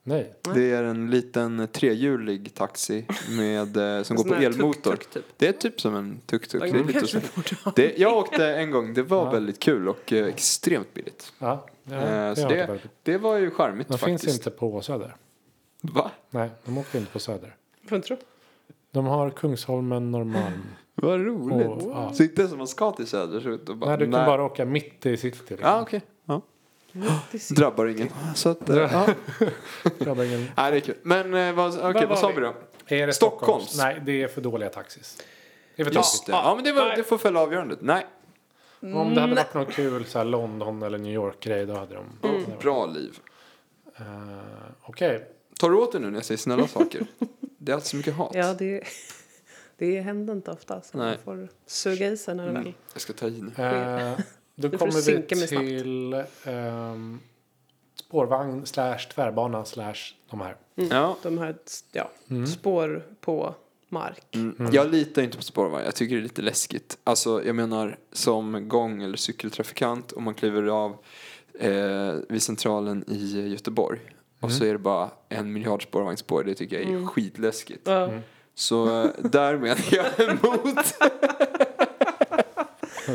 Speaker 4: Nej.
Speaker 2: Det är en liten trehjulig taxi med, eh, som går
Speaker 1: sån
Speaker 2: på
Speaker 1: här
Speaker 2: elmotor.
Speaker 1: tuk-tuk typ.
Speaker 2: Det är typ som en tuk-tuk. Det
Speaker 1: Ja,
Speaker 2: är lite
Speaker 1: kanske
Speaker 2: så.
Speaker 1: borde ha.
Speaker 2: Det, jag åkte en gång, det var väldigt kul och eh, extremt billigt.
Speaker 4: Ja, ja,
Speaker 2: Eh,
Speaker 4: det
Speaker 2: så
Speaker 4: har jag
Speaker 2: det,
Speaker 4: inte
Speaker 2: det var ju charmigt
Speaker 4: De
Speaker 2: faktiskt.
Speaker 4: finns inte på Söder.
Speaker 2: Va?
Speaker 4: Nej, de åker inte på Söder.
Speaker 1: Får inte tro.
Speaker 4: De har Kungsholmen, Norrmalm.
Speaker 2: Vad roligt.
Speaker 4: Och, ja.
Speaker 2: Så inte ens om man ska till söderut och bara...
Speaker 4: Nej, du kan bara åka mitt i city. Liksom.
Speaker 2: Ja, okej. Ja.
Speaker 1: Det ser-
Speaker 2: Drabbar ingen. Så att, eh, ja.
Speaker 4: Grabbar, ingen-
Speaker 2: Nej, det är kul. Men eh, vad, okej,
Speaker 4: Var
Speaker 2: vad
Speaker 4: var
Speaker 2: sa
Speaker 4: vi?
Speaker 2: vi då?
Speaker 4: Är det
Speaker 2: Stockholms?
Speaker 4: Stockholms? Nej, det är för dåliga taxis. Det är för
Speaker 2: Just
Speaker 4: tråkigt.
Speaker 2: det. Ja, Mm. men det, var, det får fälla avgörandet. Nej,
Speaker 4: Om det hade varit någon kul så här London eller New York-grej då hade de... Mm.
Speaker 2: bra liv.
Speaker 4: Okej.
Speaker 2: Tar du åt dig nu när jag säger snälla
Speaker 1: [laughs]
Speaker 2: saker? Det är alltid så mycket hat.
Speaker 1: Ja, det, [laughs] det händer inte ofta. Så
Speaker 2: Nej. Mm.
Speaker 1: man får suga i sig när det väl...
Speaker 2: Jag ska ta i nu.
Speaker 4: Eh, då
Speaker 1: får
Speaker 4: kommer
Speaker 1: synka mig
Speaker 4: vi
Speaker 1: snabbt.
Speaker 4: till ehm, spårvagn slash tvärbana slash de här.
Speaker 2: Ja.
Speaker 1: De här ja,
Speaker 2: Mm.
Speaker 1: spår på mark.
Speaker 2: Jag litar inte på spårvagn. Jag tycker det är lite läskigt. Alltså, jag menar som gång eller cykeltrafikant om man kliver av eh, vid centralen i Göteborg och så är det bara en miljard spårvagnsspår. Det tycker jag
Speaker 1: Mm.
Speaker 2: är skitläskigt.
Speaker 1: Ja.
Speaker 2: Så eh, därmed är jag [laughs] emot.
Speaker 4: [laughs]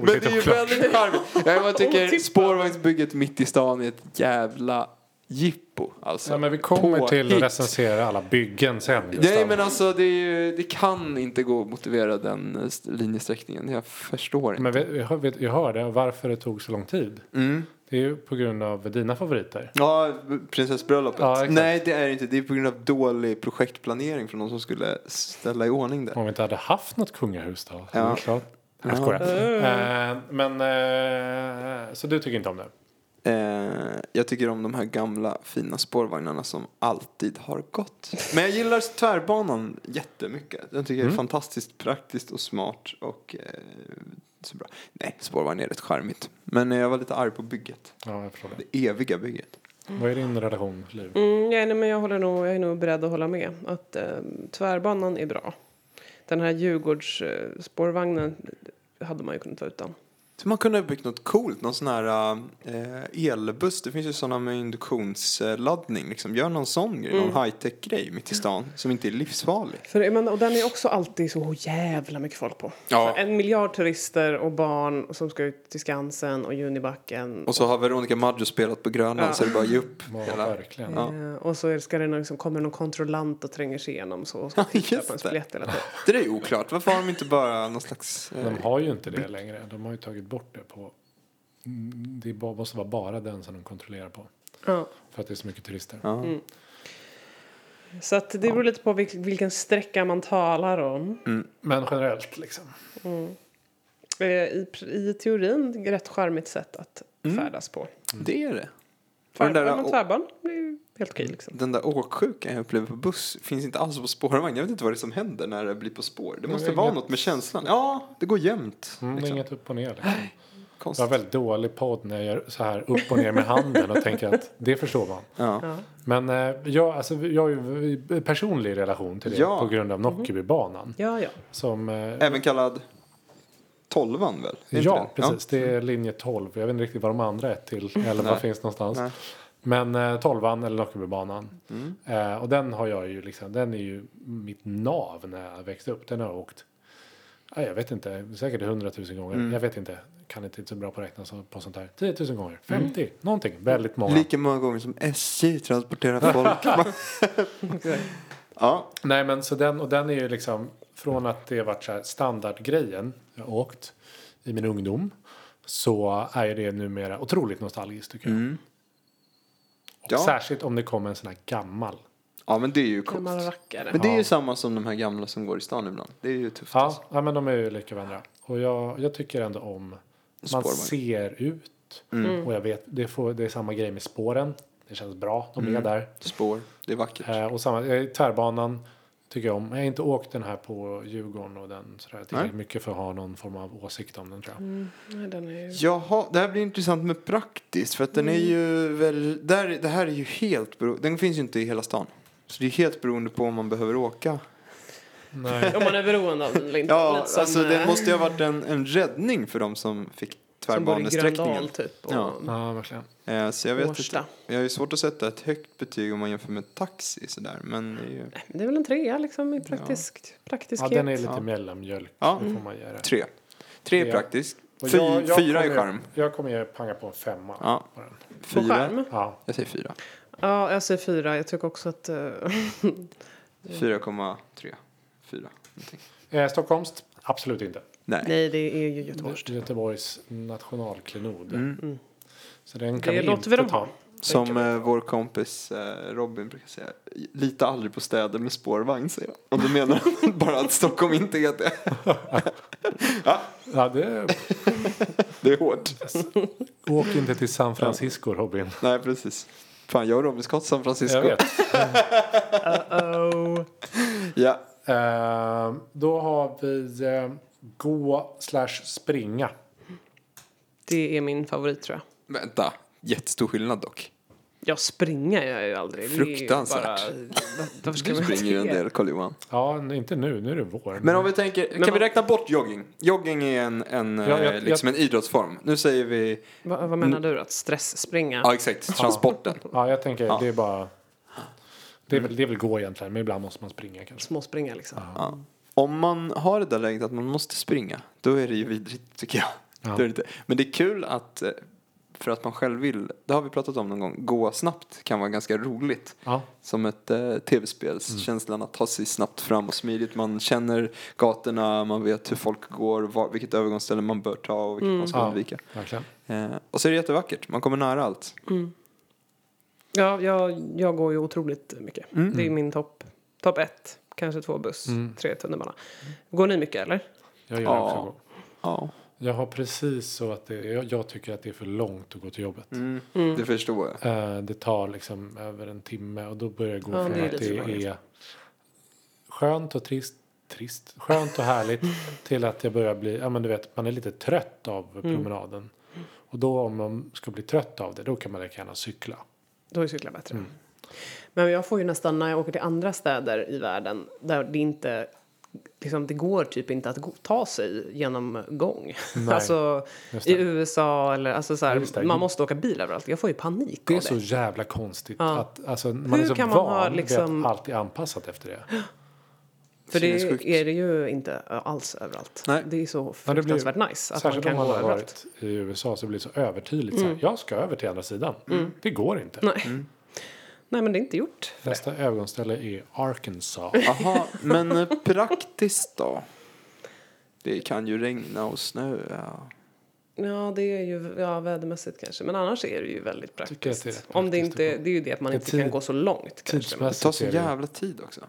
Speaker 2: Men det är ju väldigt charmigt. Jag bara tycker
Speaker 1: Otippat.
Speaker 2: spårvagnsbygget mitt i stan är ett jävla jippo. Alltså,
Speaker 4: Ja, men vi kommer till att
Speaker 2: Påhitt.
Speaker 4: recensera alla byggen sen.
Speaker 2: Nej
Speaker 4: Gustav.
Speaker 2: men alltså det, är ju, det kan inte gå att motivera den eh, st- linjesträckningen. Jag förstår inte.
Speaker 4: Men vi- jag hör- jag hörde varför det tog så lång tid. Det är ju på grund av dina favoriter.
Speaker 2: Mm. Ja, prinsessbröllopet.
Speaker 4: Ja, exakt.
Speaker 2: Nej, det är det inte. Det är på grund av dålig projektplanering från de som skulle ställa i ordning det.
Speaker 4: Om vi inte hade haft något kungahus då. så
Speaker 2: Ja.
Speaker 4: det är klart. Jag skojar. Eh, men, eh, så du tycker inte om det?
Speaker 2: Eh, jag tycker om de här gamla fina spårvagnarna som alltid har gått. Men jag gillar tvärbanan jättemycket. Den tycker jag är fantastiskt praktiskt och smart och eh, så bra. Nej, spårvagn är rätt charmigt. Men eh, jag var lite arg på bygget.
Speaker 4: Ja, jag förstår det.
Speaker 2: Det eviga bygget.
Speaker 4: Vad är din relation, Liv?
Speaker 1: Mm, ja, nej, men jag, håller nog, jag är nog beredd att hålla med att eh, tvärbanan är bra. Den här Djurgårdsspårvagnen eh, spårvagnen hade man ju kunnat vara utan.
Speaker 2: Så man kunde ha byggt något coolt, någon sån här eh, elbuss. Det finns ju sådana med induktionsladdning. Liksom. Gör någon sån grej, någon high-tech-grej mitt i stan som inte är livsfarlig.
Speaker 1: För, men, och den är också alltid så jävla mycket folk på.
Speaker 2: Ja.
Speaker 1: Så en miljard turister och barn som ska ut till Skansen och Junibacken.
Speaker 2: Och så har Veronica Maggio spelat på Grönland
Speaker 1: Ja.
Speaker 2: så det är bara att ge upp.
Speaker 4: Ja,
Speaker 2: hela-
Speaker 4: verkligen.
Speaker 2: Ja.
Speaker 1: Eh, och så är det- ska det någon, liksom, kommer någon kontrollant och tränger sig igenom så och ska titta
Speaker 2: just
Speaker 1: på ens
Speaker 2: det.
Speaker 1: biljett hela tiden.
Speaker 2: Det där är ju oklart. Varför har de inte bara någon slags... Eh,
Speaker 4: De har ju inte det längre. De har ju tagit bort det på... Mm, Det är bara- måste vara bara den som de kontrollerar på.
Speaker 1: Ja.
Speaker 4: För att det är så mycket turister.
Speaker 2: ja.
Speaker 1: Så att det beror lite på vil- vilken sträcka man talar om.
Speaker 4: Men generellt liksom.
Speaker 1: Eh, I, pr- I teorin rätt charmigt sätt att färdas på.
Speaker 2: Det är det. Och
Speaker 1: Tvär,
Speaker 2: Den
Speaker 1: ja, men
Speaker 2: Mm. där, å-
Speaker 1: tvärban det är ju helt okej liksom.
Speaker 2: den där åksjukan jag upplever på buss finns inte alls på spårvagn. Jag vet inte vad det är som händer när det blir på spår. Det måste
Speaker 4: det är
Speaker 2: vara
Speaker 4: inget-
Speaker 2: något med känslan. Ja, det går jämnt.
Speaker 4: Mm, det är
Speaker 2: Liksom.
Speaker 4: inget upp och ner liksom. Jag har
Speaker 2: Konstigt.
Speaker 4: väldigt dålig podd när jag gör så här upp och ner med handen och tänker att det förstår man.
Speaker 2: Ja.
Speaker 1: Ja.
Speaker 4: Men eh, jag, alltså, jag har ju i personlig relation till det
Speaker 2: Ja. Mhm.
Speaker 4: på grund av Nockebybanan.
Speaker 1: Ja, ja.
Speaker 4: Som, eh,
Speaker 2: Även kallad tolvan väl? Är inte
Speaker 4: ja,
Speaker 2: det? Mm.
Speaker 4: precis. Det är linje 12. Jag vet inte riktigt vad de andra
Speaker 2: [laughs]
Speaker 4: 1 till 11
Speaker 2: Nej.
Speaker 4: finns någonstans.
Speaker 2: Nej. Mm.
Speaker 4: Men eh, 12an eller Nockebybanan. Eh, och den har jag ju liksom, den är ju mitt nav när jag växte upp. Den har jag åkt, ja, jag vet inte, säkert 100 000 gånger.
Speaker 2: Mm.
Speaker 4: Jag vet inte, kan inte så bra på att räkna så, på sånt här. 10 000 gånger,
Speaker 2: Mm.
Speaker 4: 50, någonting. Väldigt många.
Speaker 2: Ja. Lika många gånger som SJ transporterar
Speaker 4: [laughs]
Speaker 2: folk. [laughs] ja.
Speaker 4: Nej men så den, och den är ju liksom från att det varit så här standardgrejen jag har åkt i min ungdom. Så är ju det numera otroligt nostalgiskt tycker jag. Och
Speaker 2: Mm. Ja.
Speaker 4: Särskilt om det kommer en sån här gammal.
Speaker 2: ja, men det är ju
Speaker 1: Gammal
Speaker 2: coolt.
Speaker 1: rackare.
Speaker 2: Men det är ju samma som de här gamla som går i stan ibland. Det är ju tufft.
Speaker 4: Ja,
Speaker 2: alltså.
Speaker 4: ja men de är ju lika varandra. Och jag, jag tycker ändå om man
Speaker 2: Spårvagn. Mm.
Speaker 4: ser ut. Och jag vet, det, får, det är samma grej med spåren. Det känns bra, de är
Speaker 2: Mm.
Speaker 4: där.
Speaker 2: Spår, det är vackert.
Speaker 4: Eh, och samma, eh, tvärbanan tycker jag om. Jag har inte åkt den här på Djurgården och den sådär tillräckligt mycket för att ha någon form av åsikt om den tror jag.
Speaker 1: Mm. Nej, den är ju...
Speaker 2: Jaha, det här blir intressant med praktiskt. För att den är ju väl, där, det här är ju helt bero, Den finns ju inte i hela stan. Så det är helt beroende på om man behöver åka.
Speaker 1: [laughs]
Speaker 4: Nej.
Speaker 1: Om man är beroende av den eller inte.
Speaker 2: Ja,
Speaker 1: Lite som,
Speaker 2: alltså det
Speaker 1: eh,
Speaker 2: måste ju ha varit en, en räddning för de som fick
Speaker 1: som bor i Gröndal
Speaker 2: tvärbanesträckningen.
Speaker 1: typ. Och
Speaker 2: Ja.
Speaker 4: Ja, verkligen.
Speaker 2: Eh, så jag vet
Speaker 1: Årsta.
Speaker 2: inte. Jag har ju svårt att sätta ett högt betyg om man jämför med taxi sådär. Men det är ju
Speaker 1: Nej, men Det är väl en trea liksom i praktisk,
Speaker 4: Ja,
Speaker 1: praktiskhet.
Speaker 4: den är lite
Speaker 2: Ja.
Speaker 4: mellanmjölk.
Speaker 2: Ja.
Speaker 4: Det får man göra.
Speaker 2: tre. Tre är
Speaker 4: Ja.
Speaker 2: praktiskt.
Speaker 4: Och
Speaker 2: Fy,
Speaker 4: jag- jag
Speaker 2: fyra är
Speaker 4: kommer-
Speaker 2: charm.
Speaker 4: Jag kommer ju panga på en femma.
Speaker 2: Ja,
Speaker 4: På den.
Speaker 1: På
Speaker 2: fyra.
Speaker 1: skärm.
Speaker 4: Ja.
Speaker 2: Jag säger fyra.
Speaker 1: Ja, jag säger fyra. Jag tycker också att... eh,
Speaker 2: 4,3. Fyra. någonting.
Speaker 4: Eh, Stockholmst? Absolut inte.
Speaker 2: Nej.
Speaker 1: nej, det är ju Göteborgs.
Speaker 4: Göteborgs nationalklenod.
Speaker 2: Mm.
Speaker 4: Så den kan
Speaker 1: Det
Speaker 4: vi
Speaker 1: låter
Speaker 4: inte
Speaker 1: vi dem
Speaker 4: ta.
Speaker 1: ha.
Speaker 2: Som eh, vår kompis eh, Robin brukar säga, lita aldrig på städer med spårvagn säger han. Och då menar han [laughs] bara att Stockholm inte är det.
Speaker 4: Ja, det...
Speaker 2: Det är hårt.
Speaker 4: Åk inte till San Francisco, Robin.
Speaker 2: Nej, precis. Fan, jag och Robin ska till San Francisco.
Speaker 4: Jag vet.
Speaker 1: Oh.
Speaker 2: Ja.
Speaker 4: Eh, då har vi eh, gå slash springa.
Speaker 1: Det är min favorit tror jag.
Speaker 2: Vänta, jättestor skillnad dock.
Speaker 1: Jag springer gör jag ju aldrig.
Speaker 2: Fruktansvärt.
Speaker 1: Det är ju bara- Varför ska
Speaker 2: Du
Speaker 1: man
Speaker 2: springer ju en
Speaker 1: det?
Speaker 2: del, karl johan
Speaker 4: Ja, n- inte nu. Nu är det vår.
Speaker 2: Men om vi tänker, kan
Speaker 1: Men
Speaker 2: vi
Speaker 1: om-
Speaker 2: räkna bort jogging? Jogging är en, en,
Speaker 4: Ja, jag-
Speaker 2: eh, liksom en idrottsform. Nu säger vi,
Speaker 1: Va, vad menar du? Att stressspringa?
Speaker 2: ja exakt, transporten.
Speaker 4: Ja, jag tänker det är bara... Det är,
Speaker 2: Mm.
Speaker 4: väl, det är väl gå egentligen, men ibland måste man springa kanske.
Speaker 1: Småspringa liksom.
Speaker 2: Ja. Om man har det där läget att man måste springa, då är det ju vidrigt tycker jag.
Speaker 4: Ja.
Speaker 2: Då är det inte. Men det är kul att eh, för att man själv vill, det har vi pratat om någon gång, gå snabbt kan vara ganska roligt.
Speaker 4: Ja.
Speaker 2: Som ett eh, tv-spelskänslan att ta sig snabbt fram och smidigt. Man känner gatorna, man vet hur folk går, var, vilket övergångsställe man bör ta och vilket man ska
Speaker 4: Ja.
Speaker 2: undvika.
Speaker 4: Verkligen.
Speaker 2: Eh, och så är det jättevackert, man kommer nära allt.
Speaker 1: Ja, jag, jag går ju otroligt mycket.
Speaker 4: Mm.
Speaker 1: Det är min topp top ett. Kanske två buss, tre tunnelbana. Går ni mycket eller?
Speaker 4: Jag gör
Speaker 2: Ja.
Speaker 4: också så.
Speaker 2: Ja,
Speaker 4: Jag har precis så att det, jag, jag tycker att det är för långt att gå till jobbet.
Speaker 2: mm. det förstår jag.
Speaker 4: Eh, det tar liksom över en timme och då börjar jag gå
Speaker 1: Ja, det
Speaker 4: från
Speaker 1: är
Speaker 4: att
Speaker 1: lite
Speaker 4: det
Speaker 1: tråkigt.
Speaker 4: är skönt och trist, trist, skönt
Speaker 1: [laughs]
Speaker 4: och härligt till att jag börjar bli, ja men du vet, man är lite trött av
Speaker 1: Mm.
Speaker 4: promenaden. Och då om man ska bli trött av det, då kan man lika gärna cykla.
Speaker 1: Då är cyklar bättre.
Speaker 4: Mm.
Speaker 1: Men jag får ju nästan när jag åker till andra städer i världen där det inte liksom, det går typ inte att gå, ta sig genom gång.
Speaker 4: Nej,
Speaker 1: alltså
Speaker 4: just det.
Speaker 1: i USA eller alltså så här,
Speaker 4: just det.
Speaker 1: man måste åka bil överallt. Jag får ju panik
Speaker 4: Det är
Speaker 1: av
Speaker 4: så
Speaker 1: det.
Speaker 4: jävla konstigt
Speaker 1: Ja.
Speaker 4: att alltså, man
Speaker 1: Hur
Speaker 4: är så
Speaker 1: kan
Speaker 4: van
Speaker 1: man ha
Speaker 4: vid
Speaker 1: liksom-
Speaker 4: att allt är anpassat efter
Speaker 1: [laughs]
Speaker 4: det.
Speaker 1: För det
Speaker 2: sinnessjukt.
Speaker 1: är det ju inte alls överallt.
Speaker 2: Nej.
Speaker 1: Det är så
Speaker 4: Ja, det blir-
Speaker 1: fruktansvärt nice att man
Speaker 4: Särskilt
Speaker 1: kan
Speaker 4: om
Speaker 1: gå
Speaker 4: man har
Speaker 1: överallt.
Speaker 4: varit i USA så blir det så övertydligt. Så här, jag ska över till andra sidan. Det går inte.
Speaker 1: Mm. Nej. Nej, men det är inte gjort.
Speaker 4: Nästa övergångsställe är Arkansas.
Speaker 2: Aha, men eh, praktiskt då? Det kan ju regna och snöa.
Speaker 1: Ja, det är ju ja, vädermässigt kanske. Men annars är det ju väldigt praktiskt.
Speaker 4: tycker att det är rätt
Speaker 1: Om det,
Speaker 4: praktiskt
Speaker 1: inte, det är ju det att man
Speaker 4: Det är
Speaker 1: inte kan
Speaker 4: tid-
Speaker 1: gå så långt kanske.
Speaker 2: Det tar
Speaker 4: Tidsmässigt
Speaker 2: så
Speaker 4: är det,
Speaker 2: jävla tid också.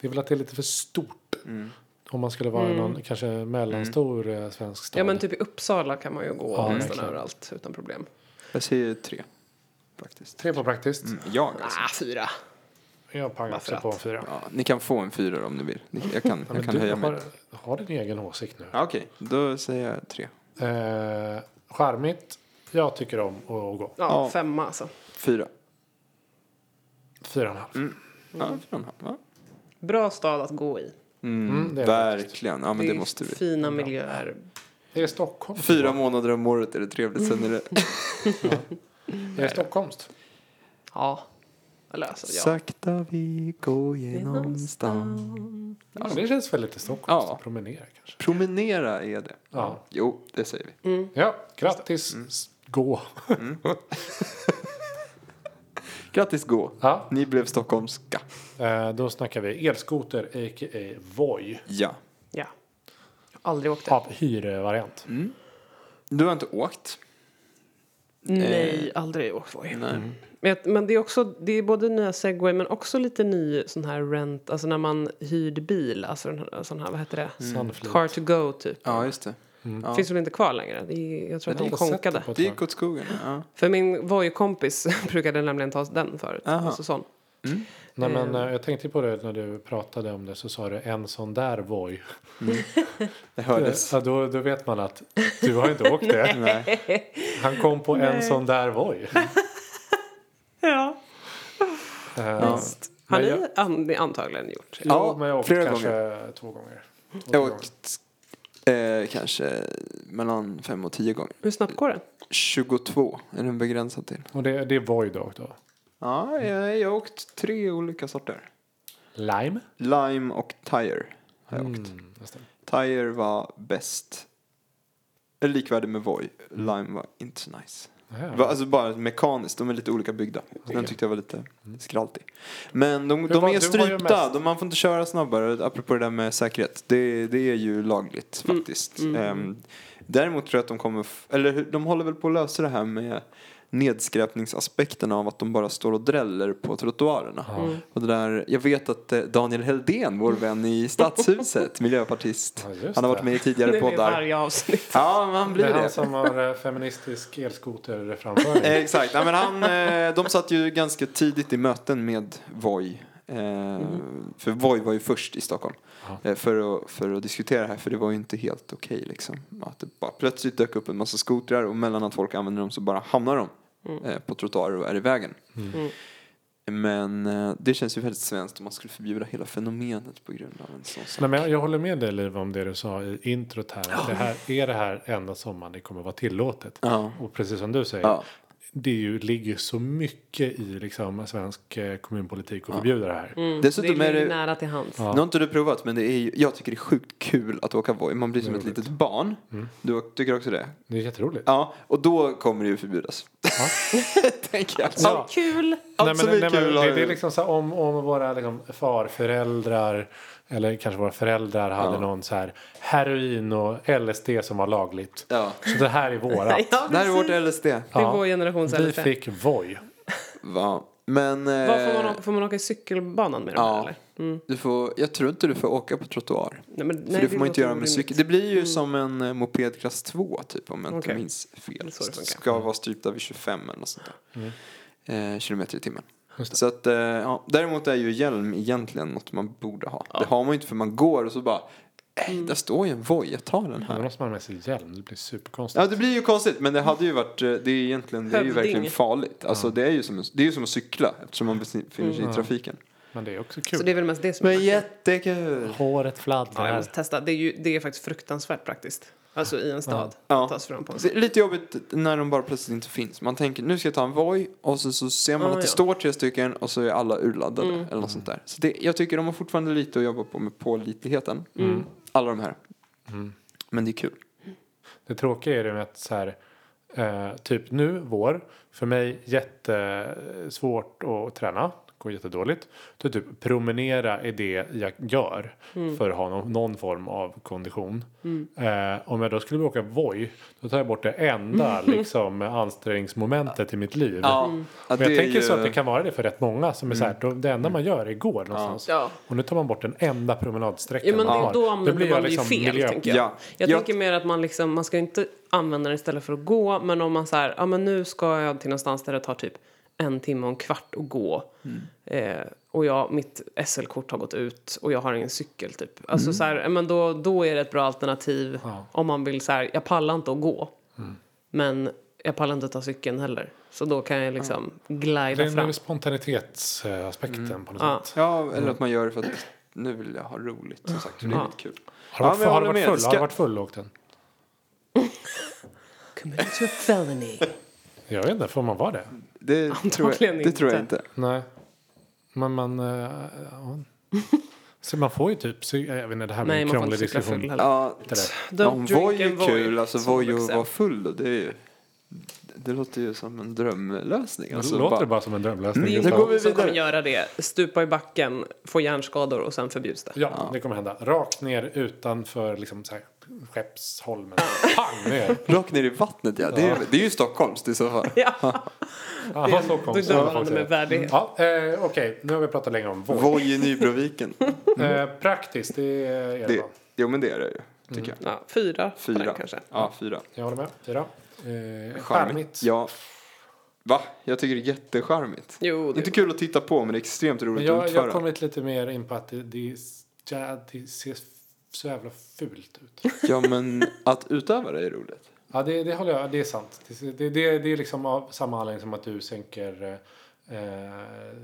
Speaker 4: det är väl att det är lite för stort.
Speaker 2: Mm.
Speaker 4: Om man skulle vara i någon kanske mellanstor eh, svensk stad.
Speaker 1: Mm. Ja, men typ i Uppsala kan man ju gå
Speaker 4: Ja,
Speaker 1: nästan
Speaker 4: verkligen.
Speaker 1: överallt utan problem.
Speaker 2: Jag säger tre. Praktiskt.
Speaker 4: Tre på praktiskt.
Speaker 2: Mm, jag alltså.
Speaker 1: Ah, fyra.
Speaker 4: Jag pangar
Speaker 1: Varför
Speaker 4: också på
Speaker 1: att?
Speaker 4: en fyra.
Speaker 2: Ja, ni kan få en fyra om ni vill. Ni, jag kan,
Speaker 4: Ja,
Speaker 2: jag
Speaker 4: men
Speaker 2: kan
Speaker 4: du
Speaker 2: höja
Speaker 4: har,
Speaker 2: mig.
Speaker 4: har din egen åsikt nu.
Speaker 2: Ja, Okej, då säger jag tre.
Speaker 4: Eh, charmigt. Jag tycker om att gå.
Speaker 1: Ja,
Speaker 2: Ja.
Speaker 1: femma alltså.
Speaker 2: Fyra.
Speaker 4: Fyra och en halv.
Speaker 2: Mm. Ja, fyra och en halv. va?
Speaker 1: Bra stad att gå i.
Speaker 2: Mm,
Speaker 4: Mm, det är det
Speaker 2: verkligen. Ja, men det, måste vi.
Speaker 1: fina miljöer.
Speaker 4: Det är Stockholm.
Speaker 2: Fyra månader om året är det trevligt. Sen är
Speaker 4: Mm.
Speaker 2: det
Speaker 4: Det är Stockholmst.
Speaker 1: Ja. Eller alltså, ja.
Speaker 2: sakta vi går genom stan.
Speaker 4: Ja, det känns väl lite Stockholmst
Speaker 2: Ja.
Speaker 4: att promenera kanske.
Speaker 2: Promenera är det.
Speaker 4: Ja. Mm.
Speaker 2: Jo, det säger vi.
Speaker 4: Ja, grattis.
Speaker 2: Mm.
Speaker 4: S- Gå.
Speaker 2: Grattis gå.
Speaker 4: Ja.
Speaker 2: Ni blev stockholmska.
Speaker 4: Eh, då snackar vi elskoter, a.k.a. Voi.
Speaker 2: Ja.
Speaker 1: ja. Aldrig åkt det.
Speaker 4: Av hyrevariant.
Speaker 2: Mm. Du har inte åkt?
Speaker 1: Nej,
Speaker 2: Eh.
Speaker 1: aldrig åkt Voi.
Speaker 2: Nej.
Speaker 1: Vet, Men det är också, det är både nya Segway men också lite ny sån här rent, alltså när man hyrd bil, alltså den här, sån här, vad heter det?
Speaker 4: Sunfleet.
Speaker 1: Car to go typ.
Speaker 2: Ja, just det. Ja.
Speaker 1: Finns väl inte kvar längre? Det är, jag tror att
Speaker 4: Jag har
Speaker 1: de
Speaker 4: inte sett
Speaker 1: konkade.
Speaker 4: det på ett
Speaker 2: Det
Speaker 4: tag.
Speaker 2: gick åt skogen. Ja.
Speaker 1: För min Voi-kompis [laughs] brukade nämligen ta den förut.
Speaker 2: Aha.
Speaker 1: Alltså sån.
Speaker 4: Nej, men, eh, jag tänkte på det när du pratade om det så sa du en sån där Voi.
Speaker 2: Det hördes.
Speaker 4: [laughs] Ja, då, då vet man att du har inte åkt det.
Speaker 2: [laughs] Nej.
Speaker 4: Han kom på en sån där Voi.
Speaker 1: Ja,
Speaker 4: Eh,
Speaker 1: visst. Har
Speaker 4: Men
Speaker 1: ni
Speaker 4: jag-
Speaker 1: an, ni antagligen gjort?
Speaker 4: jo,
Speaker 2: Ja,
Speaker 4: men jag har åkt
Speaker 2: flera
Speaker 4: kanske två gånger. Två, tre
Speaker 2: Jag har
Speaker 4: gånger.
Speaker 2: åkt eh, kanske mellan fem och tio gånger.
Speaker 1: Hur snabbt går det?
Speaker 2: 22 är den begränsad till.
Speaker 4: Och det, det är Voi då. då.
Speaker 2: Ja, jag, jag har åkt tre olika sorter.
Speaker 4: Lime.
Speaker 2: Lime och Tire har jag åkt.
Speaker 4: Mm, just det.
Speaker 2: Tire var bäst. Eller likvärdig med Voi. Lime var inte så nice.
Speaker 4: Ja.
Speaker 2: Va- Alltså bara mekaniskt, de är lite olika byggda. Den tyckte jag var lite skraltig. Men de,
Speaker 4: var-
Speaker 2: de
Speaker 4: du
Speaker 2: är
Speaker 4: var ju
Speaker 2: strypta,
Speaker 4: mest-
Speaker 2: de, man får inte köra snabbare, apropå det där med säkerhet. Det, det är ju lagligt
Speaker 4: Mm,
Speaker 2: faktiskt. Ehm, däremot tror jag att de kommer, f- eller hur- de håller väl på att lösa det här med nedskräpningsaspekten av att de bara står och dräller på trottoarerna. Och det där, jag vet att eh, Daniel Heldén, vår vän i
Speaker 4: [laughs]
Speaker 2: Stadshuset, miljöpartist,
Speaker 4: Ja, just
Speaker 2: han har
Speaker 4: det.
Speaker 2: varit med i
Speaker 1: [laughs]
Speaker 2: tidigare
Speaker 1: Nu är
Speaker 2: poddar.
Speaker 1: varje avsnitt.
Speaker 2: Ja, men han blir
Speaker 4: Det
Speaker 2: det.
Speaker 4: är han som har eh, feministisk elskoter framför
Speaker 2: [laughs] Eh,
Speaker 4: mig.
Speaker 2: Exakt. Ja, men han, eh, de satt ju ganska tidigt i möten med Voi. Eh, För Voi var ju först i Stockholm.
Speaker 4: Ja.
Speaker 2: Eh, för, att, för att diskutera det här. För det var ju inte helt okej liksom. Att det bara plötsligt dök upp en massa skotrar. Och mellan att folk använder dem så bara hamnar de eh, på trottoarer och är i vägen. Men eh, det känns ju väldigt svenskt om man skulle förbjuda hela fenomenet på grund av en sån sak.
Speaker 4: Nej, men jag, jag håller med dig Liv om det du sa i introt här. Att det här är det här enda sommaren det kommer vara tillåtet.
Speaker 2: Ja.
Speaker 4: Och precis som du säger.
Speaker 2: Ja.
Speaker 4: det är ju, ligger ju så mycket i liksom, svensk eh, kommunpolitik att förbjuda Mm. det här.
Speaker 1: Mm.
Speaker 2: Dessutom
Speaker 1: det
Speaker 2: är
Speaker 1: är ju
Speaker 2: det...
Speaker 1: nära till hands.
Speaker 2: Nu har inte du provat, men det är ju, jag tycker det är sjukt kul att åka Voi. Man blir som ett litet barn.
Speaker 1: Mm.
Speaker 2: Du tycker också det?
Speaker 4: Det är jätteroligt.
Speaker 2: Ja, och då kommer det ju förbjudas. [laughs] Tänker jag.
Speaker 4: Ja.
Speaker 1: Så kul!
Speaker 2: Allt som är kul har
Speaker 4: det, det
Speaker 2: ju-
Speaker 4: är liksom så här, om, om våra liksom, farföräldrar eller kanske våra föräldrar hade någon så här heroin och LSD som var lagligt.
Speaker 2: Ja.
Speaker 4: Så det här
Speaker 1: [laughs]
Speaker 4: är våra.
Speaker 1: Ja,
Speaker 2: Det här är
Speaker 1: precis.
Speaker 2: vårt LSD.
Speaker 1: Det är vår generations
Speaker 4: Vi
Speaker 1: LSD.
Speaker 4: fick Voi.
Speaker 2: Va? Men... eh,
Speaker 1: Vad får, man åka, får man åka i cykelbanan med dem? här,
Speaker 2: Ja.
Speaker 1: Eller? Mm.
Speaker 2: Du får, jag tror inte du får åka på trottoar.
Speaker 1: Nej, men,
Speaker 2: För det får man inte göra med cykel.
Speaker 1: cykeln.
Speaker 2: Det blir ju som en eh, moped klass 2 typ om jag inte
Speaker 1: Mm. Okej.
Speaker 2: minns fel.
Speaker 1: Så det funkar. Mm.
Speaker 2: ska vara strypta vid 25 eller något sånt där. Eh, kilometer i timmen. Så att, eh, ja. Däremot är ju hjälm egentligen något man borde ha. Det har man ju inte för man går och så bara, ej
Speaker 1: Mm.
Speaker 2: där står ju en voj, jag tar den
Speaker 4: Då
Speaker 2: här.
Speaker 4: måste man ha med sig hjälm. Det blir superkonstigt.
Speaker 2: Ja det blir ju konstigt men det hade ju varit, eh, det är ju egentligen, det är ju
Speaker 1: Hövding.
Speaker 2: verkligen farligt. Alltså det är ju som, en- det är ju som att cykla eftersom man befinner sig i trafiken.
Speaker 4: Men det är också
Speaker 1: Så
Speaker 4: kul.
Speaker 1: det är väl mest det som är
Speaker 2: Men jättekul!
Speaker 4: Håret
Speaker 1: Ja, jag
Speaker 4: fladdrar.
Speaker 1: måste testa. Det är, ju, det är faktiskt fruktansvärt praktiskt. Alltså i en stad.
Speaker 2: Ja.
Speaker 1: Att ta sig fram på en
Speaker 2: Det är lite jobbigt när de bara plötsligt inte finns. Man tänker nu ska jag ta en Voi och så, så ser man
Speaker 1: Ah,
Speaker 2: att det
Speaker 1: ja. Mm.
Speaker 2: står tre stycken och så är alla urladdade eller något sånt där. Så det, jag tycker de har fortfarande lite att jobba på med pålitligheten.
Speaker 1: Mm.
Speaker 4: Mm.
Speaker 2: Alla de här. Men det är kul.
Speaker 4: Det tråkiga är det med att så här, eh, typ nu, vår, för mig jättesvårt att träna. Går jättedåligt. Så typ promenera är det jag gör
Speaker 1: Mm.
Speaker 4: för att ha någon, någon form av kondition. Eh, om jag då skulle åka Voi, då tar jag bort det enda
Speaker 1: Mm.
Speaker 4: liksom, ansträngningsmomentet i mitt liv.
Speaker 2: Ja,
Speaker 4: Men jag tänker så att det kan vara det för rätt många som är så här, då, det enda man gör är går någonstans.
Speaker 1: Ja.
Speaker 4: Och nu tar man bort den enda promenadsträckan
Speaker 1: Ja, men
Speaker 4: man
Speaker 1: det,
Speaker 4: har.
Speaker 1: då använder
Speaker 4: blir jag
Speaker 1: man det ju
Speaker 4: liksom
Speaker 1: fel,
Speaker 4: miljö-
Speaker 1: tänker jag.
Speaker 2: Ja.
Speaker 1: Jag
Speaker 2: Jag-
Speaker 1: tänker mer att man liksom, man ska inte använda den istället för att gå, men om man så här, ja men nu ska jag till någonstans där det tar typ en timme och en kvart att gå.
Speaker 4: Mm.
Speaker 1: Eh, och jag, mitt SL-kort har gått ut och jag har ingen cykel typ.
Speaker 4: Mm.
Speaker 1: Alltså så här, ja, men då, då är det ett bra alternativ om man vill så här, jag pallar inte att gå.
Speaker 4: Mm.
Speaker 1: Men jag pallar inte att ta cykeln heller. Så då kan jag liksom
Speaker 4: Det
Speaker 1: glida
Speaker 4: är
Speaker 1: fram. Mm.
Speaker 4: nog spontanitetsaspekten på något
Speaker 1: Ja.
Speaker 4: sätt.
Speaker 2: Ja, eller att man gör det för att nu vill jag ha roligt. Som sagt, för det är
Speaker 1: Ja.
Speaker 2: lite kul.
Speaker 4: Mm. Har du varit,
Speaker 2: men jag
Speaker 4: har
Speaker 2: håller
Speaker 4: du varit
Speaker 2: med.
Speaker 4: full?
Speaker 2: Ska-
Speaker 4: Har du varit full och åkt den?
Speaker 1: Commit to a [laughs] felony.
Speaker 4: Jag vet inte, får man vara det?
Speaker 2: Det, tror jag,
Speaker 1: Antagligen
Speaker 2: det tror jag
Speaker 1: inte.
Speaker 2: inte.
Speaker 4: Nej. Men man... eh, ja. Så man får ju typ... cy- Jag vet inte, det här blir
Speaker 1: Nej,
Speaker 4: en
Speaker 1: man får
Speaker 4: krånglig
Speaker 1: inte cykla
Speaker 4: diskussion.
Speaker 1: full heller.
Speaker 2: Ja,
Speaker 4: Det där.
Speaker 2: ja,
Speaker 1: Don't
Speaker 2: om
Speaker 1: drink
Speaker 2: Voi
Speaker 1: and
Speaker 2: är
Speaker 1: Voi,
Speaker 2: kul, alltså
Speaker 1: som
Speaker 2: Voi och
Speaker 1: exempel.
Speaker 2: vara full, det är ju... Det låter ju som en drömlösning.
Speaker 4: Det
Speaker 2: Alltså,
Speaker 4: låter bara, som en drömlösning.
Speaker 1: Det är
Speaker 4: just nu.
Speaker 2: går vi
Speaker 1: någon som
Speaker 2: vidare.
Speaker 1: kommer göra det. Stupa i backen, få hjärnskador och sen förbjuds det.
Speaker 4: Ja, det kommer hända. Rakt ner utanför liksom, så här,
Speaker 1: [laughs]
Speaker 4: Skeppsholmen. Pang ner!
Speaker 2: Rakt ner i vattnet ja. Det är, det är ju Stockholms i så fall.
Speaker 1: Ja,
Speaker 4: Aha, så kom
Speaker 1: då
Speaker 4: så.
Speaker 1: dömer man det med värdighet.
Speaker 4: Ja, eh, Okej, nu har vi pratat länge om vård.
Speaker 2: Voi i Nybroviken.
Speaker 4: Eh, praktiskt, det är det.
Speaker 2: Det,
Speaker 4: va?
Speaker 2: jo men det är det ju. Tycker jag.
Speaker 1: [laughs] Ja, fyra, fyra. På
Speaker 2: Fyra.
Speaker 1: den kanske. [laughs]
Speaker 2: Ja, fyra.
Speaker 4: Jag håller med. Fyra. Eh, charmigt.
Speaker 2: Ja. Va? Jag tycker det är jättecharmigt.
Speaker 1: Jo, det-
Speaker 2: Inte kul att titta på men det är extremt
Speaker 4: Men
Speaker 2: roligt att
Speaker 4: jag, jag
Speaker 2: utföra.
Speaker 4: har kommit lite mer in på att det, det, är s- ja, det ser så jävla fult ut.
Speaker 2: [laughs] Ja men att utöva det är roligt.
Speaker 4: Ja, det, det håller jag. Det är sant. Det, ser- det, det, det är liksom av samma anledning som att du sänker eh, eh,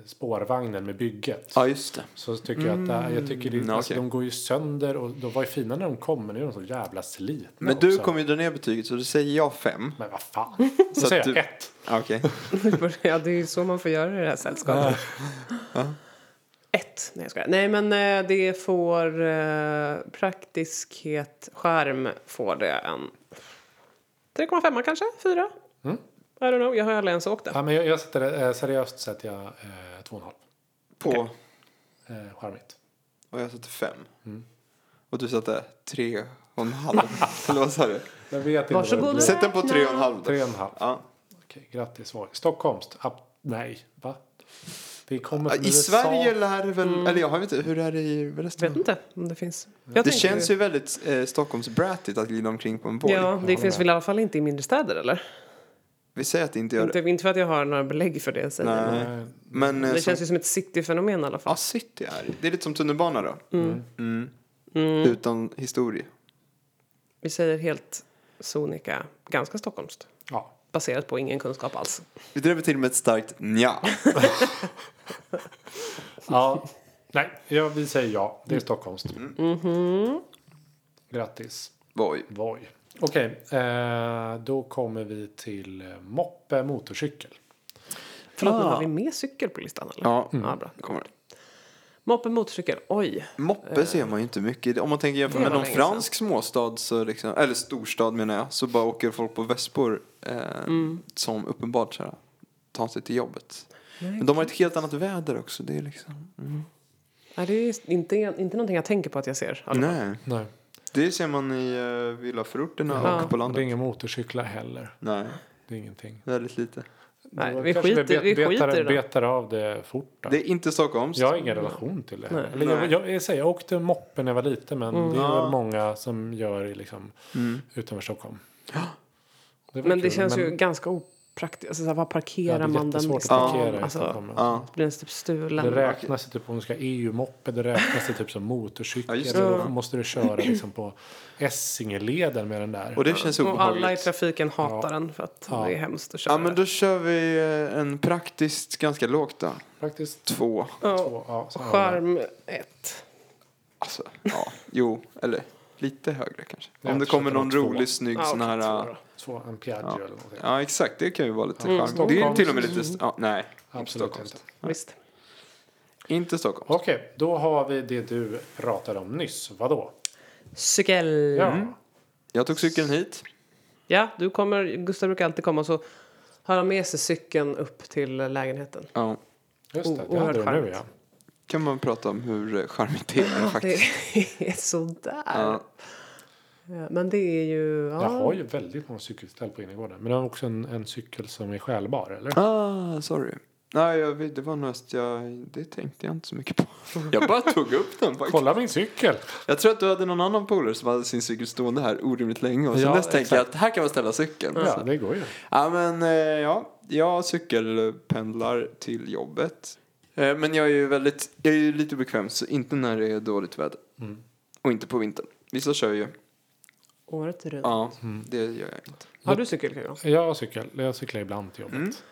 Speaker 4: spårvagnen med bygget.
Speaker 2: Ja just det.
Speaker 4: Så tycker jag att det, här- jag tycker det,
Speaker 2: Mm,
Speaker 4: alltså,
Speaker 2: okej.
Speaker 4: de går ju sönder och de var ju fina när de kom men nu är de så jävla slitna
Speaker 2: Men du
Speaker 4: också.
Speaker 2: kommer ju dra ner betyget så då säger jag fem.
Speaker 4: Men vad
Speaker 2: [laughs]
Speaker 4: fan.
Speaker 2: Så
Speaker 4: Så
Speaker 2: att
Speaker 4: säger jag
Speaker 2: du- Ja,
Speaker 4: ett.
Speaker 2: Ah, Okej.
Speaker 1: Ja, det är ju så man får göra i det här sällskapet. Ett. Nej, jag skojar. Nej, men eh, det får eh, praktiskhet, skärm får det en 3,5 kanske? Fyra?
Speaker 2: Mm.
Speaker 1: I don't know, jag har aldrig ens åkt den.
Speaker 4: Ja, men jag, jag sätter det, eh, seriöst sätter jag eh, två och en halv.
Speaker 2: På.
Speaker 4: Eh, charmigt.
Speaker 2: Och jag satte fem.
Speaker 4: Mm.
Speaker 2: Och du satte tre och en
Speaker 4: [laughs]
Speaker 2: halv. Eller vad sa du?
Speaker 4: Jag vet inte vad det
Speaker 1: Varsågod.
Speaker 4: blir.
Speaker 2: Sätt den på tre och en halv. då.
Speaker 4: Tre och en halv.
Speaker 2: Ja.
Speaker 4: Okej, grattis. Voi. Stockholmst? Ab- nej, va? Det kommer
Speaker 2: Ja,
Speaker 4: från
Speaker 2: I
Speaker 4: USA.
Speaker 2: Sverige lär det väl, eller jag har inte, hur är det i resten
Speaker 1: Jag
Speaker 2: av
Speaker 1: Mm. vet inte om det finns. Jag
Speaker 2: Det
Speaker 1: tänker-
Speaker 2: känns ju väldigt eh, Stockholmsbrattigt att glida omkring på en borg.
Speaker 1: Ja, det finns väl i alla fall inte i mindre städer, eller?
Speaker 2: Vi säger att det inte gör
Speaker 1: Inte,
Speaker 2: det.
Speaker 1: inte för att jag har några belägg för det, jag säger.
Speaker 2: Nej.
Speaker 4: Eh,
Speaker 2: Men eh,
Speaker 1: Det
Speaker 2: som,
Speaker 1: känns ju som ett cityfenomen i alla fall.
Speaker 2: ja, city är det. Det är lite som tunnelbana då. Mm. Utan historia.
Speaker 1: Vi säger helt sonika, ganska stockholmskt.
Speaker 4: ja.
Speaker 1: Baserat på ingen kunskap alls.
Speaker 2: Vi drev till med ett starkt
Speaker 1: [laughs]
Speaker 2: nja.
Speaker 4: ja. Nej, ja, vi
Speaker 1: Mm-hmm.
Speaker 4: säger ja. Det är stockholmst. Grattis.
Speaker 2: Voi.
Speaker 4: Voi. Okej, eh, då kommer vi till eh, moppe motorcykel.
Speaker 1: Förlåt, men
Speaker 2: Ah.
Speaker 1: har vi med cykel på listan? Eller? Mm.
Speaker 2: Ja,
Speaker 1: ja bra.
Speaker 2: kommer det.
Speaker 1: Moppe motorcykel, oj.
Speaker 2: Moppe ser man ju inte mycket. Om man tänker jämfört
Speaker 1: Eh, Det
Speaker 2: med
Speaker 1: var
Speaker 2: någon
Speaker 1: länge sedan.
Speaker 2: fransk småstad, så liksom, eller storstad menar jag, så bara åker folk på vespor eh,
Speaker 1: Mm.
Speaker 2: som uppenbart så här, tar sig till jobbet. Men de har ett helt annat väder också. Det är liksom, mm.
Speaker 1: Nej, det är inte, inte någonting jag tänker på att jag ser. Alltså,
Speaker 2: Nej,
Speaker 4: Nej,
Speaker 2: det ser man i eh, villaförorterna
Speaker 1: Ja.
Speaker 2: och på
Speaker 4: och det är
Speaker 2: landet.
Speaker 4: inga motorcyklar heller.
Speaker 2: Nej,
Speaker 4: Det är ingenting.
Speaker 2: väldigt lite.
Speaker 1: Nej,
Speaker 4: Det var
Speaker 1: vi
Speaker 4: kanske
Speaker 1: skiter-
Speaker 4: det
Speaker 1: vi
Speaker 4: bet-
Speaker 1: skiter i
Speaker 4: betar,
Speaker 1: det.
Speaker 4: betar av det fort. Då.
Speaker 2: Det är inte Stockholms.
Speaker 4: Jag har ingen relation till det.
Speaker 1: Nej. Mm.
Speaker 4: Eller jag,
Speaker 2: Nej.
Speaker 4: jag, jag, säger, jag åkte moppe när jag var liten men det är väl många som gör i liksom, utanför Stockholm. var
Speaker 1: Men det
Speaker 4: kul,
Speaker 1: känns
Speaker 4: men-
Speaker 1: ju ganska opraktiskt. Alltså, så här, var
Speaker 4: Ja,
Speaker 1: parkerar
Speaker 4: det är
Speaker 1: man den?
Speaker 4: jättesvårt att
Speaker 1: liksom?
Speaker 4: parkera i
Speaker 1: alltså,
Speaker 4: Stockholm.
Speaker 2: Ja.
Speaker 1: blir den typ stulen?
Speaker 4: Det räknas ju typ om du ska ha EU-moppe, det räknas det typ som motorcykel.
Speaker 2: Ja, just
Speaker 4: så
Speaker 2: det.
Speaker 4: Då måste du köra liksom på Essingeleden med den där.
Speaker 2: Och det känns
Speaker 1: Och alla i
Speaker 2: obehagligt.
Speaker 1: trafiken hatar den för att
Speaker 4: Ja.
Speaker 1: det är hemskt att köra.
Speaker 2: Ja, men då kör vi eh, en praktiskt ganska lågt då.
Speaker 4: Faktiskt
Speaker 2: Två.
Speaker 1: ja.
Speaker 4: två. Ja, så här.
Speaker 1: Charm 1.
Speaker 2: Alltså, ja. Jo, eller lite högre kanske.
Speaker 4: Jag
Speaker 2: Om det
Speaker 4: försöker
Speaker 2: kommer någon
Speaker 4: ha två.
Speaker 2: rolig, snygg sån här... äh,
Speaker 4: Två Ampiaggio eller någonting.
Speaker 2: Ja, exakt. Det kan ju vara lite charm. Det är ju
Speaker 4: Mm, Stockholm.
Speaker 2: till och med lite... Ja, nej. inte
Speaker 4: Absolut
Speaker 2: Stockholm.
Speaker 4: inte.
Speaker 1: Visst.
Speaker 2: Inte Stockholm.
Speaker 4: Okej, då har vi det du pratade om nyss. Vadå?
Speaker 1: Cykel.
Speaker 4: Ja.
Speaker 1: Ja.
Speaker 2: Jag tog cykeln hit.
Speaker 1: du kommer. Gustav brukar alltid komma och så har han med sig cykeln upp till lägenheten.
Speaker 2: Ja.
Speaker 4: Just det, det
Speaker 1: Oerhört
Speaker 4: hade du nu
Speaker 1: charmigt.
Speaker 4: ja.
Speaker 2: Kan man prata om hur eh, charmigt det är
Speaker 1: Det
Speaker 2: faktiskt.
Speaker 1: är sådär.
Speaker 2: Ja.
Speaker 1: Ja, Men det är ju... Ja.
Speaker 4: Jag har ju väldigt många cykelställ på innergården. Men jag har också en, en cykel som är stjälbar, eller?
Speaker 2: Ah, sorry. Nej, jag, vet- det var något jag... Det tänkte jag inte så
Speaker 4: [laughs]
Speaker 2: mycket på. Jag bara tog upp den faktiskt.
Speaker 4: Kolla min cykel!
Speaker 2: Jag tror att du hade någon annan polare som hade sin cykel stående här orimligt länge. Och sen
Speaker 4: Ja,
Speaker 2: dess tänkte jag att här kan man ställa cykeln.
Speaker 4: Ja,
Speaker 2: Så-
Speaker 4: det går ju.
Speaker 2: Ja, men eh, ja, jag cykelpendlar till jobbet. Eh, Men jag är ju väldigt, jag är ju lite bekväm, så inte när det är dåligt väder.
Speaker 4: Mm.
Speaker 2: Och inte på vintern. Vissa kör ju.
Speaker 1: Året runt.
Speaker 2: Ja, det gör jag inte.
Speaker 1: Har du cykel, Karin?
Speaker 4: Jag har cykel. Jag cyklar ibland till jobbet.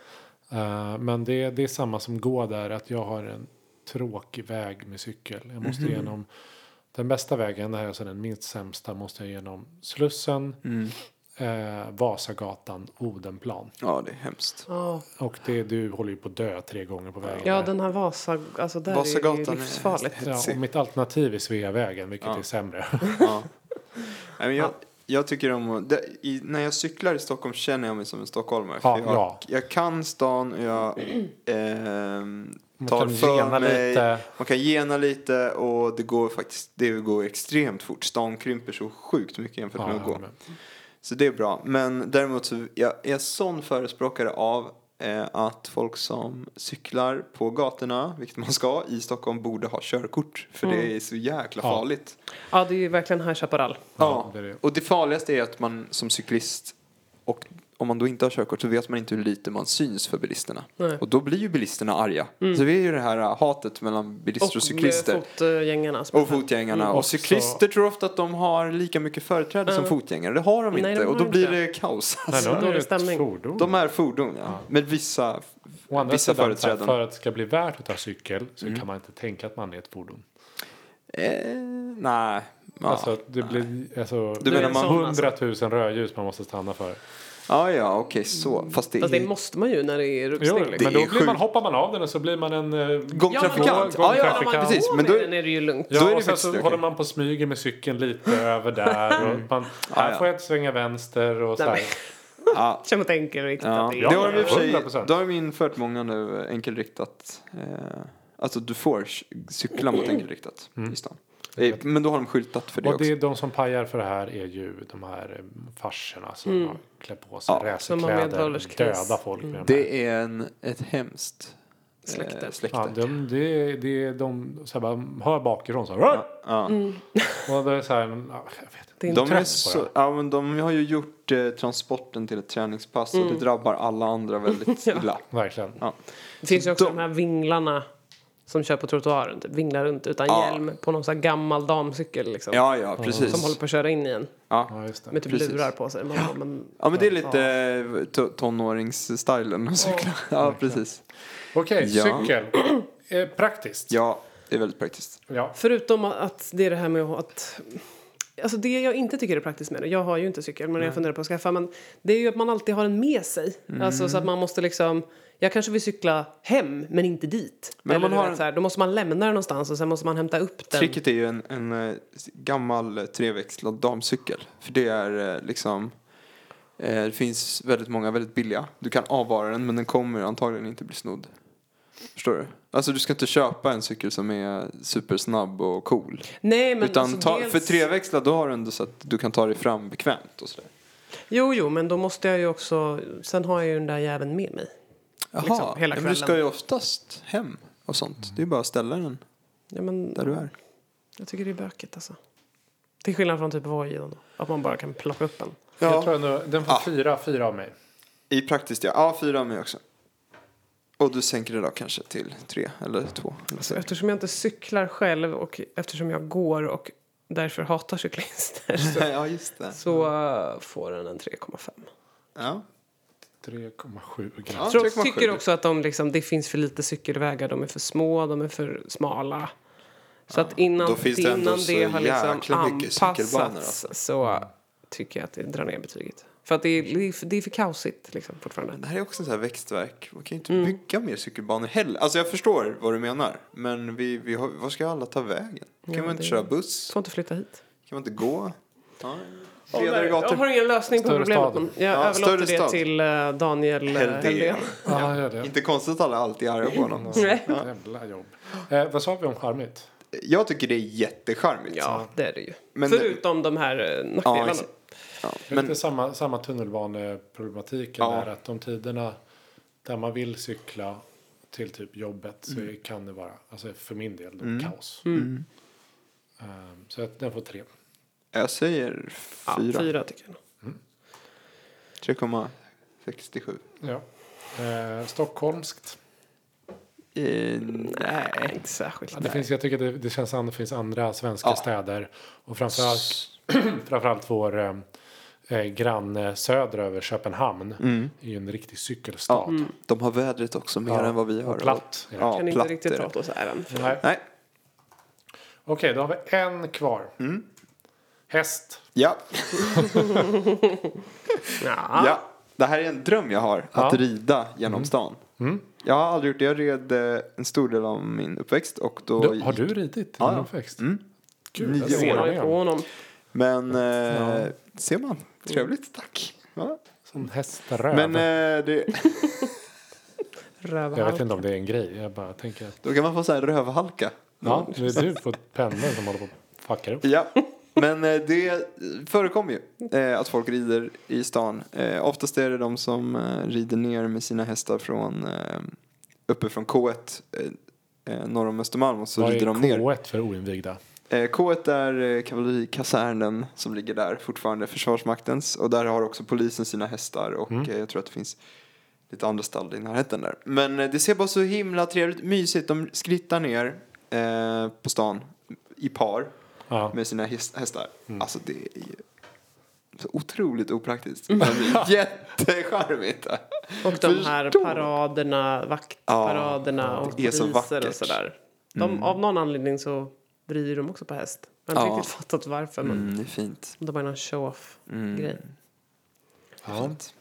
Speaker 4: Eh, men det, det är samma som går där. Att jag har en tråkig väg med cykel. Jag måste igenom den bästa vägen. Det här är alltså den minst sämsta. Måste jag igenom Slussen. eh, Vasagatan, Odenplan.
Speaker 2: Ja, det är hemskt.
Speaker 1: Ja.
Speaker 4: Och det, du håller ju på att dö tre gånger på vägen.
Speaker 1: Ja,
Speaker 4: där.
Speaker 1: den här Vasa... Alltså där är det
Speaker 2: Vasagatan
Speaker 1: ju
Speaker 2: är-
Speaker 1: livsfarligt.
Speaker 4: ja, och mitt alternativ är Sveavägen, vilket är sämre.
Speaker 2: Ja. [laughs] Nej, men jag, jag tycker om att, det, i, när jag cyklar i Stockholm känner jag mig som en stockholmare.
Speaker 4: Ja,
Speaker 2: För jag,
Speaker 4: ja.
Speaker 2: jag kan stan och jag [clears throat] ehm,
Speaker 4: Man
Speaker 2: tar
Speaker 4: kan gena
Speaker 2: för mig.
Speaker 4: lite.
Speaker 2: Man kan gena lite och det går faktiskt, det går extremt fort. Stan krymper så sjukt mycket jämfört med att gå.
Speaker 4: men-
Speaker 2: Så det är bra. Men däremot så jag är jag sån förespråkare av eh, att folk som cyklar på gatorna, vilket man ska, i Stockholm borde ha körkort. För det är så jäkla
Speaker 4: Mm. Ja.
Speaker 2: farligt.
Speaker 1: Ja, det är ju verkligen High Chaparral.
Speaker 2: Ja,
Speaker 4: det är det.
Speaker 2: och det farligaste är att man som cyklist och om man då inte har körkort så vet man inte hur lite man syns för bilisterna.
Speaker 1: Nej.
Speaker 2: Och då blir ju bilisterna arga.
Speaker 4: Mm.
Speaker 2: Så det är ju det här äh, hatet mellan bilister och, cyklister.
Speaker 1: eh, fotgängarna. som-
Speaker 2: och fotgängarna. och
Speaker 4: också-
Speaker 2: cyklister tror ofta att de har lika mycket företräde som fotgängare. Det har de
Speaker 1: Nej,
Speaker 2: inte.
Speaker 1: de har
Speaker 2: och då
Speaker 1: inte
Speaker 2: blir
Speaker 1: det.
Speaker 2: det kaos.
Speaker 4: Nej,
Speaker 2: Alltså.
Speaker 4: de är
Speaker 1: Dålig
Speaker 4: ju ett
Speaker 1: stämning.
Speaker 4: fordon.
Speaker 2: De är fordon, ja. Med vissa,
Speaker 4: Å andra
Speaker 2: vissa
Speaker 4: sidan, så här,
Speaker 2: företräden. Mm.
Speaker 4: för att det ska bli värt att ta cykel så kan man inte tänka att man är ett fordon.
Speaker 2: Eh, nej. Ja.
Speaker 4: alltså, det blir alltså,
Speaker 2: Du menar man-
Speaker 4: hundratusen rödljus man måste stanna för.
Speaker 2: ja, ja, okej så. Fast det,
Speaker 1: Fast det
Speaker 2: är...
Speaker 1: måste man ju när det är
Speaker 4: Jo,
Speaker 1: rusning. liksom.
Speaker 4: men då
Speaker 2: är
Speaker 4: blir man,
Speaker 2: sjukt.
Speaker 4: hoppar man av den och så blir man en... eh,
Speaker 2: Gångtrafikant.
Speaker 4: Ja,
Speaker 2: Ja, ja,
Speaker 4: gångtrafikant.
Speaker 2: precis. Men
Speaker 1: men då
Speaker 2: då
Speaker 1: är... den är det ju lugnt.
Speaker 4: Ja,
Speaker 2: Då är det
Speaker 4: och sen
Speaker 2: faktiskt
Speaker 4: så
Speaker 2: okej.
Speaker 4: håller man på och smyger med
Speaker 2: [laughs]
Speaker 4: cykeln lite över där. Och man, här
Speaker 2: ja.
Speaker 4: får jag inte svänga vänster och så
Speaker 1: Nej,
Speaker 4: här.
Speaker 1: men-
Speaker 2: ja,
Speaker 1: Känner man tänker riktigt
Speaker 2: Ja,
Speaker 1: att det
Speaker 2: det har de i och för sig.
Speaker 4: 100%.
Speaker 2: Då har de infört många nu eh, enkelriktat. Eh, alltså du får cy- cykla mot enkelriktat i stan. Eh, men då har de skyltat för det
Speaker 4: Och
Speaker 2: också.
Speaker 4: det är de som pajar för det här är ju de här eh, farserna som har klätt på sig
Speaker 2: Mm. Ja.
Speaker 1: Som har medelålders
Speaker 4: racerkläder,
Speaker 1: kris.
Speaker 4: döda folk med de här.
Speaker 2: Det är en, ett hemskt eh,
Speaker 1: Släkte.
Speaker 2: släkte.
Speaker 4: Ja,
Speaker 2: Ja,
Speaker 4: de, det, det, de så här bara, hör bakifrån så här. "Rör!" [laughs] Och då är det så här, ja, jag vet inte.
Speaker 1: Mm. Det är inte
Speaker 2: De, är
Speaker 4: trött på
Speaker 2: så,
Speaker 4: det.
Speaker 2: ja, men de har ju gjort eh, transporten till ett träningspass och det drabbar alla andra väldigt illa.
Speaker 4: Verkligen.
Speaker 2: Ja.
Speaker 1: Det finns ju också
Speaker 2: De-
Speaker 1: de här vinglarna som kör på trottoaren. Typ, vinglar runt utan
Speaker 2: Ja.
Speaker 1: hjälm på någon sån här gammal damcykel. Liksom,
Speaker 2: ja, ja,
Speaker 1: Som håller
Speaker 2: precis.
Speaker 1: på att köra in i en
Speaker 4: Ja, just det.
Speaker 1: med typ
Speaker 2: Precis.
Speaker 1: lurar på sig. Man, bara, men,
Speaker 2: Ja, men det är lite eh, to- tonåringsstylen att cykla. [laughs] Ja, precis.
Speaker 4: Okej,
Speaker 2: Ja.
Speaker 4: cykel. Eh, praktiskt.
Speaker 2: Ja, det är väldigt praktiskt.
Speaker 4: Ja.
Speaker 1: Förutom att det är det här med att Alltså det jag inte tycker är praktiskt med det, jag har ju inte cykel men jag funderar på att skaffa, men det är ju att man alltid har den med sig.
Speaker 2: Mm.
Speaker 1: Alltså så att man måste liksom, jag kanske vill cykla hem men inte dit.
Speaker 2: Men
Speaker 1: Eller
Speaker 2: man
Speaker 1: du
Speaker 2: har
Speaker 1: vet
Speaker 2: en-
Speaker 1: så här, då måste man lämna den någonstans och sen måste man hämta upp den.
Speaker 2: Tricket är ju en, en eh, gammal eh, treväxlad damcykel. För det är eh, liksom... eh, Det finns väldigt många väldigt billiga. Du kan avvara den men den kommer antagligen inte bli snodd. Förstår du? Alltså du ska inte köpa en cykel som är supersnabb och cool.
Speaker 1: Nej men
Speaker 2: Utan
Speaker 1: alltså
Speaker 2: ta,
Speaker 1: dels-
Speaker 2: för treväxlad då har du ändå så att du kan ta dig fram bekvämt och sådär.
Speaker 1: Jo jo men då måste jag ju också, sen har jag ju den där jäveln med mig.
Speaker 2: Jaha,
Speaker 1: Liksom, hela
Speaker 2: ja, men du ska
Speaker 1: kvällen.
Speaker 2: ju oftast hem och sånt. Det är bara att ställa den
Speaker 1: Ja, men,
Speaker 2: där du är.
Speaker 1: Jag tycker det är bökigt alltså. Till skillnad från typ Voyager då, att man bara kan plocka upp en.
Speaker 4: Jag tror ändå, den får
Speaker 2: Ja.
Speaker 4: fyra, fyra av mig.
Speaker 2: I praktiskt ja. Ja, fyra av mig också. Och du sänker det då kanske till tre eller två. eller så.
Speaker 1: Eftersom jag inte cyklar själv och eftersom jag går och därför hatar cyklister så,
Speaker 2: [laughs] ja, just det.
Speaker 1: så eh, får den en 3,5.
Speaker 2: Ja.
Speaker 4: 3,7 gram.
Speaker 2: Ja,
Speaker 1: Jag tror-
Speaker 2: 3,7.
Speaker 1: tycker också att de liksom, det finns för lite cykelvägar, de är för små, de är för smala. Så att innan
Speaker 2: då finns det
Speaker 1: det,
Speaker 2: ändå
Speaker 1: innan
Speaker 2: så
Speaker 1: det har liksom
Speaker 2: jäkla mycket
Speaker 1: anpassats
Speaker 2: cykelbanor, alltså.
Speaker 1: så tycker jag att det drar ner betyget. För att det är, det är för- det är för kaosigt liksom, fortfarande.
Speaker 2: Det här är också så här växtverk. Man kan ju inte
Speaker 1: Mm.
Speaker 2: bygga mer cykelbanor heller. Alltså jag förstår vad du menar. Men vi, vi har, var ska alla ta vägen? Kan
Speaker 1: Ja,
Speaker 2: man inte
Speaker 1: det-
Speaker 2: köra buss?
Speaker 1: Får inte flytta hit.
Speaker 2: Kan man inte gå? Ja.
Speaker 1: Där,
Speaker 2: Bredare
Speaker 1: jag
Speaker 2: gator.
Speaker 1: har ingen lösning på
Speaker 4: Större
Speaker 1: problemet.
Speaker 4: stad.
Speaker 1: men Jag
Speaker 2: Ja,
Speaker 1: överlåter
Speaker 2: större
Speaker 1: det
Speaker 2: stad.
Speaker 1: till eh, Daniel eh,
Speaker 2: Helldén.
Speaker 1: Helldén.
Speaker 4: Ja, Mm. gör det.
Speaker 2: Inte konstigt att alla alltid är arga på honom.
Speaker 1: Nej.
Speaker 4: Jävla jobb. Eh, vad sa vi om charmigt?
Speaker 2: Jag tycker det är jättecharmigt.
Speaker 1: Ja, det är det ju.
Speaker 2: Men det-
Speaker 1: Förutom de här eh,
Speaker 2: Ja, liksom
Speaker 1: nackdelarna.
Speaker 2: exakt. Ja,
Speaker 4: Det är
Speaker 2: men,
Speaker 4: lite samma, samma tunnelbaneproblematiken
Speaker 2: Ja.
Speaker 4: där att de tiderna där man vill cykla till typ jobbet så
Speaker 2: Mm.
Speaker 4: kan det vara, alltså för min del, då, kaos. Ehm, så att den får tre.
Speaker 2: jag säger
Speaker 1: ja,
Speaker 2: fyra.
Speaker 1: fyra tycker jag. nog.
Speaker 2: 3,67.
Speaker 4: Ja. Eh, stockholmskt.
Speaker 2: Eh,
Speaker 1: Mm.
Speaker 2: nej.
Speaker 1: Nej, inte särskilt.
Speaker 4: Ja, Det finns, jag tycker det, det känns som att det finns andra svenska
Speaker 2: Ja.
Speaker 4: städer. Och framförallt, [clears throat] framförallt vår eh, eh, granne söderöver Köpenhamn är ju en riktig cykelstad.
Speaker 2: Mm. Ja, de har vädret också mer
Speaker 4: Ja,
Speaker 2: än vad vi har.
Speaker 4: och platt.
Speaker 2: Ja,
Speaker 1: kan inte
Speaker 2: platt är
Speaker 1: riktigt
Speaker 2: det.
Speaker 1: prata oss äran. för.
Speaker 4: Nej.
Speaker 2: Nej.
Speaker 4: Okej, då har vi en kvar.
Speaker 2: Mm.
Speaker 4: Häst.
Speaker 2: Ja.
Speaker 1: [laughs] Ja.
Speaker 2: ja. Det här är en dröm jag har. Att
Speaker 4: Ja. Mm.
Speaker 2: rida genom stan. Jag har aldrig gjort det. Jag red eh, en stor del av min uppväxt. Och då
Speaker 4: Du, har du ridit i
Speaker 2: Ja,
Speaker 4: din
Speaker 2: ja.
Speaker 4: uppväxt?
Speaker 2: Mm.
Speaker 4: Gud,
Speaker 2: Nio
Speaker 4: jag
Speaker 1: Det ser man ju
Speaker 4: med
Speaker 1: på
Speaker 4: om.
Speaker 1: honom.
Speaker 2: Men eh,
Speaker 4: Ja.
Speaker 2: ser man. Trevligt, tack. Ja.
Speaker 4: Som häströv.
Speaker 2: Men eh, det,
Speaker 4: jag
Speaker 1: Rövhalt.
Speaker 4: vet inte om det är en grej. Jag bara tänker att
Speaker 2: då kan man få så här rövhalka.
Speaker 4: ja, det är du på pendeln som håller på och fuckar upp.
Speaker 2: Ja, men eh, det förekommer ju eh, att folk rider i stan. Eh, Oftast är det de som eh, rider ner med sina hästar från eh, uppe från K1 eh, eh, norr om Östermalm och så
Speaker 4: Vad är
Speaker 2: rider de ner.
Speaker 4: K1 för oinvigda?
Speaker 2: Eh, K1 är eh, kavallerikasernen som ligger där fortfarande, Försvarsmaktens. Och där har också polisen sina hästar och
Speaker 4: Mm.
Speaker 2: eh, jag tror att det finns lite andra stall i närheten där. Men eh, det ser bara så himla trevligt, mysigt. De skrittar ner eh, på stan i par
Speaker 4: Ja. Mm.
Speaker 2: med sina häst- hästar. Alltså det är ju så otroligt opraktiskt.
Speaker 4: Mm.
Speaker 2: Men
Speaker 4: [laughs]
Speaker 2: jättecharmigt. Mm,
Speaker 1: Och de här
Speaker 2: Förstå-
Speaker 1: paraderna, vaktparaderna
Speaker 2: Ja,
Speaker 1: och
Speaker 2: det är så
Speaker 1: poliser
Speaker 2: vackert.
Speaker 1: och
Speaker 2: Mm.
Speaker 1: sådär. De, Av någon anledning så driver de också på häst. Jag har inte
Speaker 2: Ja.
Speaker 1: riktigt fattat varför. Men
Speaker 2: Mm, det är fint.
Speaker 1: det var någon show-off-grej. [laughs]
Speaker 2: Det är fint.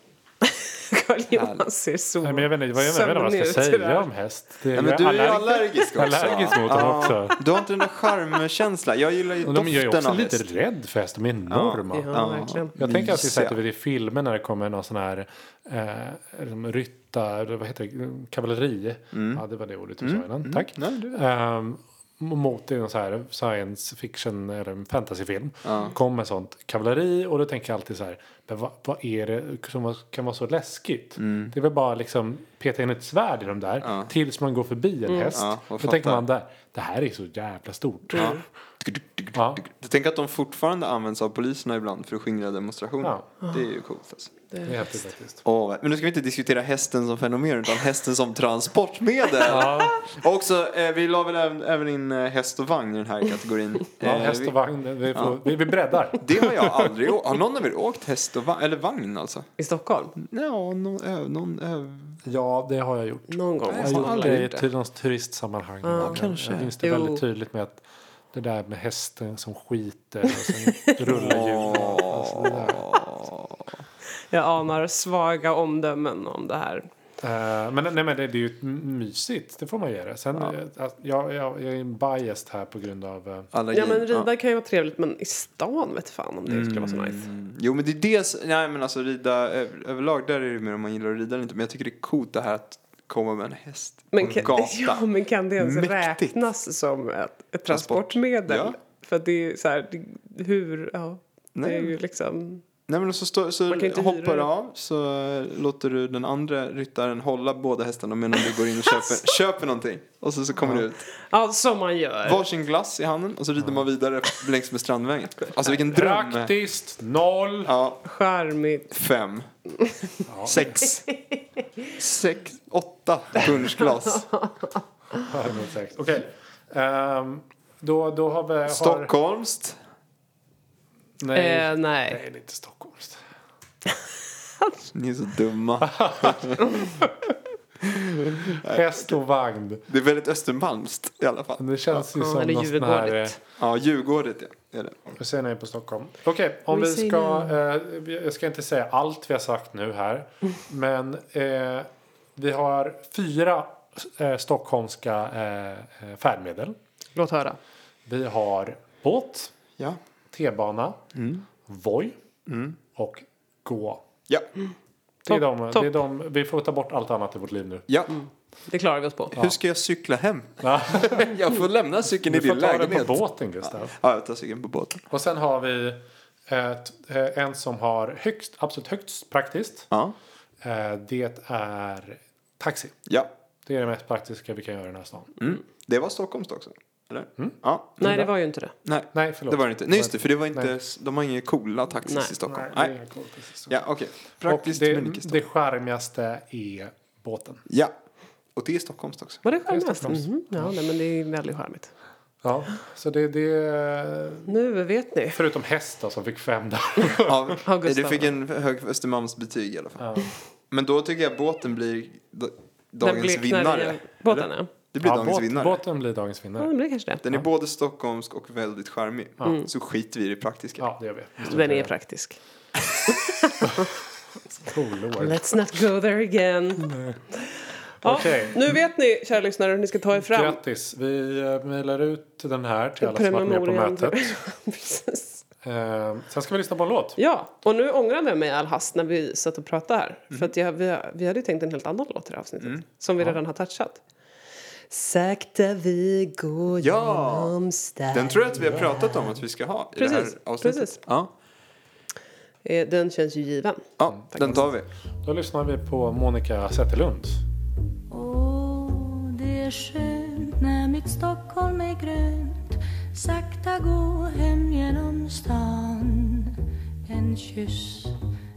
Speaker 1: Carl-Johan ser så
Speaker 4: Nej, men jag vet inte vad jag, jag vet inte vad jag ska
Speaker 1: sömnig ut,
Speaker 4: säga om häst. Det
Speaker 2: Ja, men du är ju
Speaker 4: allergisk-
Speaker 2: allergisk också.
Speaker 4: [laughs] allergisk mot dem
Speaker 2: Ja.
Speaker 4: också.
Speaker 2: Du har inte den där charmkänslan. Jag gillar ju
Speaker 4: Och de är ju
Speaker 2: doften
Speaker 4: också
Speaker 2: av
Speaker 4: lite
Speaker 2: häst.
Speaker 4: rädd för häst. De är enorma.
Speaker 1: Ja,
Speaker 2: Ja.
Speaker 1: verkligen.
Speaker 4: Jag tänker alltid så här
Speaker 2: Mysiga.
Speaker 4: typ i filmer när det kommer någon sån här eh, liksom rytta, eller vad heter det, kavalleri. Ja, det var det ordet du sa innan. Tack.
Speaker 2: Mm. Nej, det
Speaker 4: Ehm, mot en så här science fiction eller en fantasyfilm. Kommer sånt kavalleri och då tänker jag alltid så här. Men vad, vad är det som kan vara så läskigt?
Speaker 2: Mm.
Speaker 4: Det är väl bara liksom peta in ett svärd i de där. Tills man går förbi en häst.
Speaker 2: Ja, och
Speaker 4: då tänker
Speaker 2: fattar.
Speaker 4: man där. Det här är så jävla stort. Ja.
Speaker 1: Mm.
Speaker 4: Ja.
Speaker 2: Jag tänker att de fortfarande används av poliserna ibland för att skingra demonstrationer. Det är ju coolt alltså.
Speaker 4: Det är häftigt faktiskt.
Speaker 2: Åh, men nu ska vi inte diskutera hästen som fenomen utan hästen som transportmedel. Och också, eh, vi la väl även, även in eh, häst och vagn i den här kategorin.
Speaker 4: Ja,
Speaker 2: Eh,
Speaker 4: häst
Speaker 2: vi-
Speaker 4: och vagn. Vi, får, vi, vi breddar.
Speaker 2: Det har jag aldrig åkt. Har någon av er åkt häst och vagn? Eller vagn alltså?
Speaker 1: I Stockholm?
Speaker 2: Ja, någon, ö, någon ö.
Speaker 4: Ja, det har jag gjort.
Speaker 1: Någon gång.
Speaker 2: Nej,
Speaker 4: Jag
Speaker 1: måste
Speaker 4: har
Speaker 1: man
Speaker 4: gjort
Speaker 1: väl.
Speaker 2: aldrig
Speaker 4: det i
Speaker 2: gjort det.
Speaker 4: till någon turistsammanhang.
Speaker 1: Ja,
Speaker 4: Ja,
Speaker 2: kanske.
Speaker 4: Jag minns det
Speaker 1: Jo.
Speaker 4: väldigt tydligt med att Det där med hästen som skiter och sen rullar hjulet. Alltså det där.
Speaker 1: Jag anar svaga omdömen om det här.
Speaker 4: Eh, men nej, men det, det är ju mysigt, det får man ge det. Sen, eh, alltså, jag, jag, jag är en biased här på grund av... eh,
Speaker 2: Allergi.
Speaker 1: Ja men rida kan ju vara trevligt men i stan vet fan om det skulle vara så nice.
Speaker 2: Mm. Jo men det är dels, nej men alltså rida över, överlag där är det mer om man gillar att rida eller inte. Men jag tycker det är coolt det här att komma med en häst
Speaker 1: Men
Speaker 2: på en
Speaker 1: kan, [laughs]
Speaker 2: gata.
Speaker 1: ja, men kan det ens
Speaker 2: Mäktigt.
Speaker 1: räknas som ett, ett transportmedel?
Speaker 2: Transportmedel. Ja.
Speaker 1: För att det är ju så här, det- hur, ja.
Speaker 2: Nej.
Speaker 1: Det är ju liksom,
Speaker 2: Nej men så, stå, så
Speaker 1: Man kan inte hyra
Speaker 2: hoppar
Speaker 1: det.
Speaker 2: du av så eh, låter du den andra ryttaren hålla båda hästarna medan du går in och
Speaker 1: [laughs] Alltså.
Speaker 2: köper, köper någonting. Och så, så kommer du ut.
Speaker 1: ja som man gör.
Speaker 2: Varsin glass i handen och så rider man vidare längs med Strandvägen. Alltså vilken dröm.
Speaker 4: Praktiskt, noll!
Speaker 2: Ja,
Speaker 1: Charmigt.
Speaker 2: fem. Sex. Sex. Åtta punschglas.
Speaker 4: Ja, det är nog säkert. Okej. Ehm, då, då har vi... Har,
Speaker 2: Stockholmskt.
Speaker 4: Nej,
Speaker 1: Nej. Eh, nej.
Speaker 4: nej, det är inte stockholmskt.
Speaker 2: Ni är så dumma.
Speaker 4: Häst och vagn.
Speaker 2: Det är väldigt Östermalmskt i alla fall.
Speaker 4: Det känns ju
Speaker 1: Ja,
Speaker 4: som
Speaker 1: det är
Speaker 4: någon sån här... eh,
Speaker 1: Djurgårdigt.
Speaker 2: Ja, Djurgårdet ja. Är det.
Speaker 4: Vi säger nej på Stockholm. Okej, om
Speaker 1: Vi
Speaker 4: vi,
Speaker 1: säger
Speaker 4: ska... Eh, vi- jag ska inte säga allt vi har sagt
Speaker 1: [laughs]
Speaker 4: nu här. Men eh, vi har fyra eh, stockholmska eh, eh, färdmedel.
Speaker 1: Låt höra.
Speaker 4: Vi har båt,
Speaker 2: Ja.
Speaker 4: T-bana,
Speaker 1: Mm.
Speaker 4: Voi och gå.
Speaker 2: Ja.
Speaker 4: Det är,
Speaker 1: Topp,
Speaker 4: de,
Speaker 1: topp.
Speaker 4: det är de, vi får ta bort allt annat i vårt liv nu.
Speaker 2: ja.
Speaker 1: Det klarar vi oss på.
Speaker 2: Hur ska jag cykla hem? [laughs] jag får lämna cykeln i
Speaker 4: Vi får
Speaker 2: din
Speaker 4: ta det
Speaker 2: lägenhet.
Speaker 4: på båten Gustav.
Speaker 2: Ja, jag tar cykeln på båten.
Speaker 4: Och sen har vi ett, eh, en som har högst, absolut högst praktiskt.
Speaker 2: Ja.
Speaker 4: Eh, Det är taxi.
Speaker 2: Ja.
Speaker 4: Det är det mest praktiska vi kan göra i den här stan.
Speaker 2: Mm. Det var Stockholmskt också. Eller? Ja.
Speaker 1: Nej det var ju inte det.
Speaker 2: Nej.
Speaker 4: Mm. Nej, förlåt.
Speaker 2: Det var det inte. Nej, just det, för det var inte,
Speaker 4: Nej.
Speaker 2: de har inga coola taxis
Speaker 1: Nej.
Speaker 2: i Stockholm.
Speaker 4: Nej, det
Speaker 2: Nej.
Speaker 4: är coolt, precis så.
Speaker 2: Ja, okej.
Speaker 4: och
Speaker 2: Praktiskt men icke
Speaker 4: det,
Speaker 2: Stockholm.
Speaker 4: det charmigaste är båten.
Speaker 2: Ja. Och det är Stockholmskt
Speaker 4: [laughs]
Speaker 2: också.
Speaker 1: Var det charmigast?
Speaker 4: Stockholms.
Speaker 1: Mhm. Ja nej, men det är väldigt charmigt.
Speaker 4: Ja, så det, det är...
Speaker 1: Nu vet ni.
Speaker 4: Förutom häst då, som fick fem där.
Speaker 2: Ja,
Speaker 1: Ja, Gustav.
Speaker 2: du fick en hög Östermalmsbetyg i alla fall. Men då tycker jag båten blir d- dagens
Speaker 1: bleknar i
Speaker 2: vinnare.
Speaker 1: Båten
Speaker 2: Eller?
Speaker 1: ja.
Speaker 2: Det [laughs] blir
Speaker 4: Ja,
Speaker 2: dagens
Speaker 4: båt-
Speaker 2: vinnare.
Speaker 4: Båten blir dagens
Speaker 1: Ja
Speaker 4: vinnare.
Speaker 1: den blir kanske det.
Speaker 2: Den är både stockholmsk och väldigt charmig. Så skiter vi i det
Speaker 1: Mm.
Speaker 2: praktiska.
Speaker 4: Ja, det gör vi.
Speaker 1: Den är praktisk.
Speaker 4: Cool
Speaker 1: Let's not go there
Speaker 2: [laughs]
Speaker 1: again. Ja,
Speaker 4: Okej.
Speaker 1: Nu vet ni kära lyssnare hur ni ska ta er fram.
Speaker 4: Grattis! Vi eh, mailar ut den här till alla som varit med på
Speaker 1: Promemorian.
Speaker 4: [laughs] mötet.
Speaker 1: Precis.
Speaker 4: Eh, sen ska vi lyssna på en låt.
Speaker 1: Ja, och nu ångrade jag mig i all hast när vi satt och pratade här. För att jag, vi, vi hade ju tänkt en helt annan låt i det här avsnittet. Som vi redan har touchat. Sakta vi går
Speaker 2: Ja.
Speaker 1: genom stan.
Speaker 2: Den tror jag att vi har pratat om att vi ska ha i
Speaker 1: Precis,
Speaker 2: det här avsnittet.
Speaker 1: precis.
Speaker 2: Ja,
Speaker 1: Eh, Den känns ju given.
Speaker 2: ja den tar vi.
Speaker 4: Då lyssnar vi på Monica Zetterlund.
Speaker 5: Åh, det är skönt när mitt Stockholm är grönt Sakta gå hem genom stan En kyss,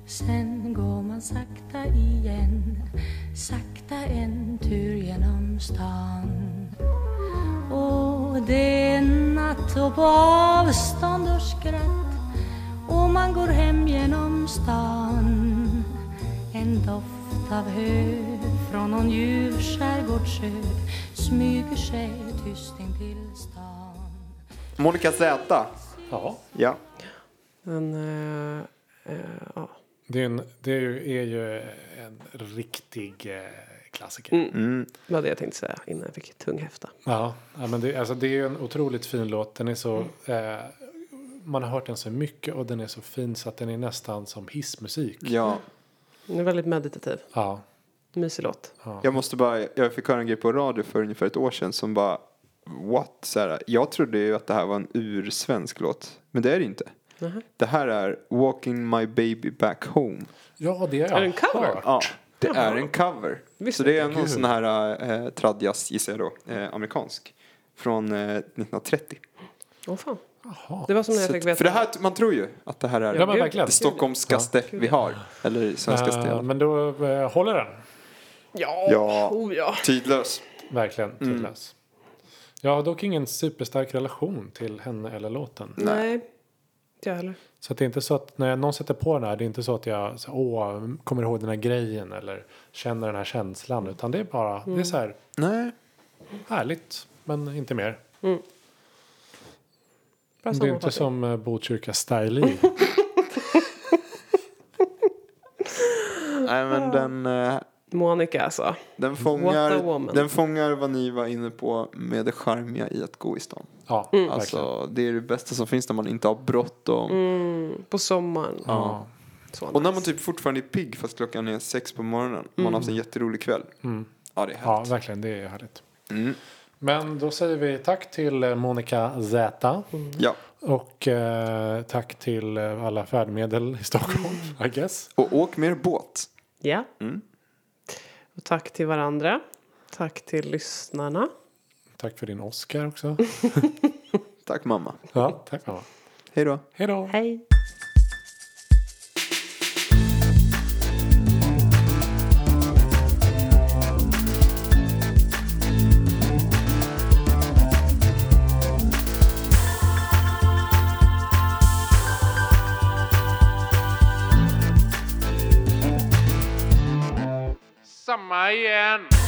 Speaker 5: sen går man sakta igen Sakta en tur genom stan och det är natt och på avstånd och skratt och man går hem genom stan En doft av hö från någon djur skärgårdsö smyger sig tyst intill stan
Speaker 2: Monica Z.
Speaker 4: Ja.
Speaker 2: Ja.
Speaker 1: Men, eh, eh, ja.
Speaker 4: Det är, en, det är ju, är ju en riktig eh, klassiker.
Speaker 1: Det var det jag tänkte säga innan jag fick tung häfta.
Speaker 4: Ja, ja, men det, alltså, det är ju en otroligt fin låt. Den är så, eh, man har hört den så mycket och den är så fin så att den är nästan som hissmusik.
Speaker 2: Ja.
Speaker 1: Den är väldigt meditativ.
Speaker 4: Ja.
Speaker 1: Mysig låt.
Speaker 2: Jag måste bara, jag fick höra en grej på radio för ungefär ett år sedan som bara What? Så här, jag trodde ju att det här var en ursvensk låt. Men det är det inte. Det här är Walking My Baby Back Home.
Speaker 4: ja, det
Speaker 1: Är
Speaker 4: är
Speaker 1: det en cover?
Speaker 2: Ja, det är en cover.
Speaker 1: Visst
Speaker 2: så det är någon sån här eh, tradjazz gissar jag då, eh, amerikansk. Från eh, 1930.
Speaker 1: Åh fan.
Speaker 4: Jaha.
Speaker 1: Det var som när jag
Speaker 2: Så,
Speaker 1: fick
Speaker 2: att-
Speaker 1: veta.
Speaker 2: för det här, man tror ju att det här är
Speaker 4: Ja, men
Speaker 1: gud.
Speaker 4: verkligen.
Speaker 2: det stockholmskaste vi har. Eller svenskaste i
Speaker 4: Eh,
Speaker 2: alla fall.
Speaker 4: men då eh, håller den.
Speaker 1: Ja,
Speaker 2: Ja.
Speaker 1: Oh, ja.
Speaker 2: Tidlös.
Speaker 4: Verkligen tidlös. Jag har dock ingen superstark relation till henne eller låten.
Speaker 1: Nej. Inte jag heller.
Speaker 4: Så att det är inte så att när någon sätter på den här, det är inte så att jag så, Åh, kommer ihåg den här grejen eller känner den här känslan. Utan det är bara, det är så här
Speaker 2: Nej.
Speaker 4: härligt, men inte mer.
Speaker 1: Bra
Speaker 4: Det är inte
Speaker 1: sammanfattning.
Speaker 4: som eh, Botkyrka Style
Speaker 2: Nej men den, eh,
Speaker 1: Monica alltså.
Speaker 2: den,
Speaker 1: What a
Speaker 2: fångar,
Speaker 1: woman.
Speaker 2: den fångar vad ni var inne på med det charmiga i att gå i stan.
Speaker 4: Ja, Mm. verkligen. Mm.
Speaker 2: Alltså det är det bästa som finns när man inte har bråttom.
Speaker 1: På sommaren.
Speaker 4: Ja.
Speaker 1: Så
Speaker 2: Och när man typ fortfarande är pigg fast klockan är sex på morgonen. Man har haft en jätterolig kväll. Ja det är
Speaker 4: Mm. ja,
Speaker 2: härligt.
Speaker 4: verkligen. Det är härligt.
Speaker 2: Mm.
Speaker 4: Men då säger vi tack till eh, Monica Z.
Speaker 2: Ja.
Speaker 4: Och eh, tack till eh, alla färdmedel i Stockholm, I guess.
Speaker 2: Och åk mer båt.
Speaker 1: Ja.
Speaker 2: Mm.
Speaker 1: Och tack till varandra. Tack till lyssnarna.
Speaker 4: Tack för din Oscar också.
Speaker 2: Tack mamma.
Speaker 4: Ja, tack mamma.
Speaker 2: Hej då.
Speaker 4: Hej då!
Speaker 1: Hej.
Speaker 3: Samma igen.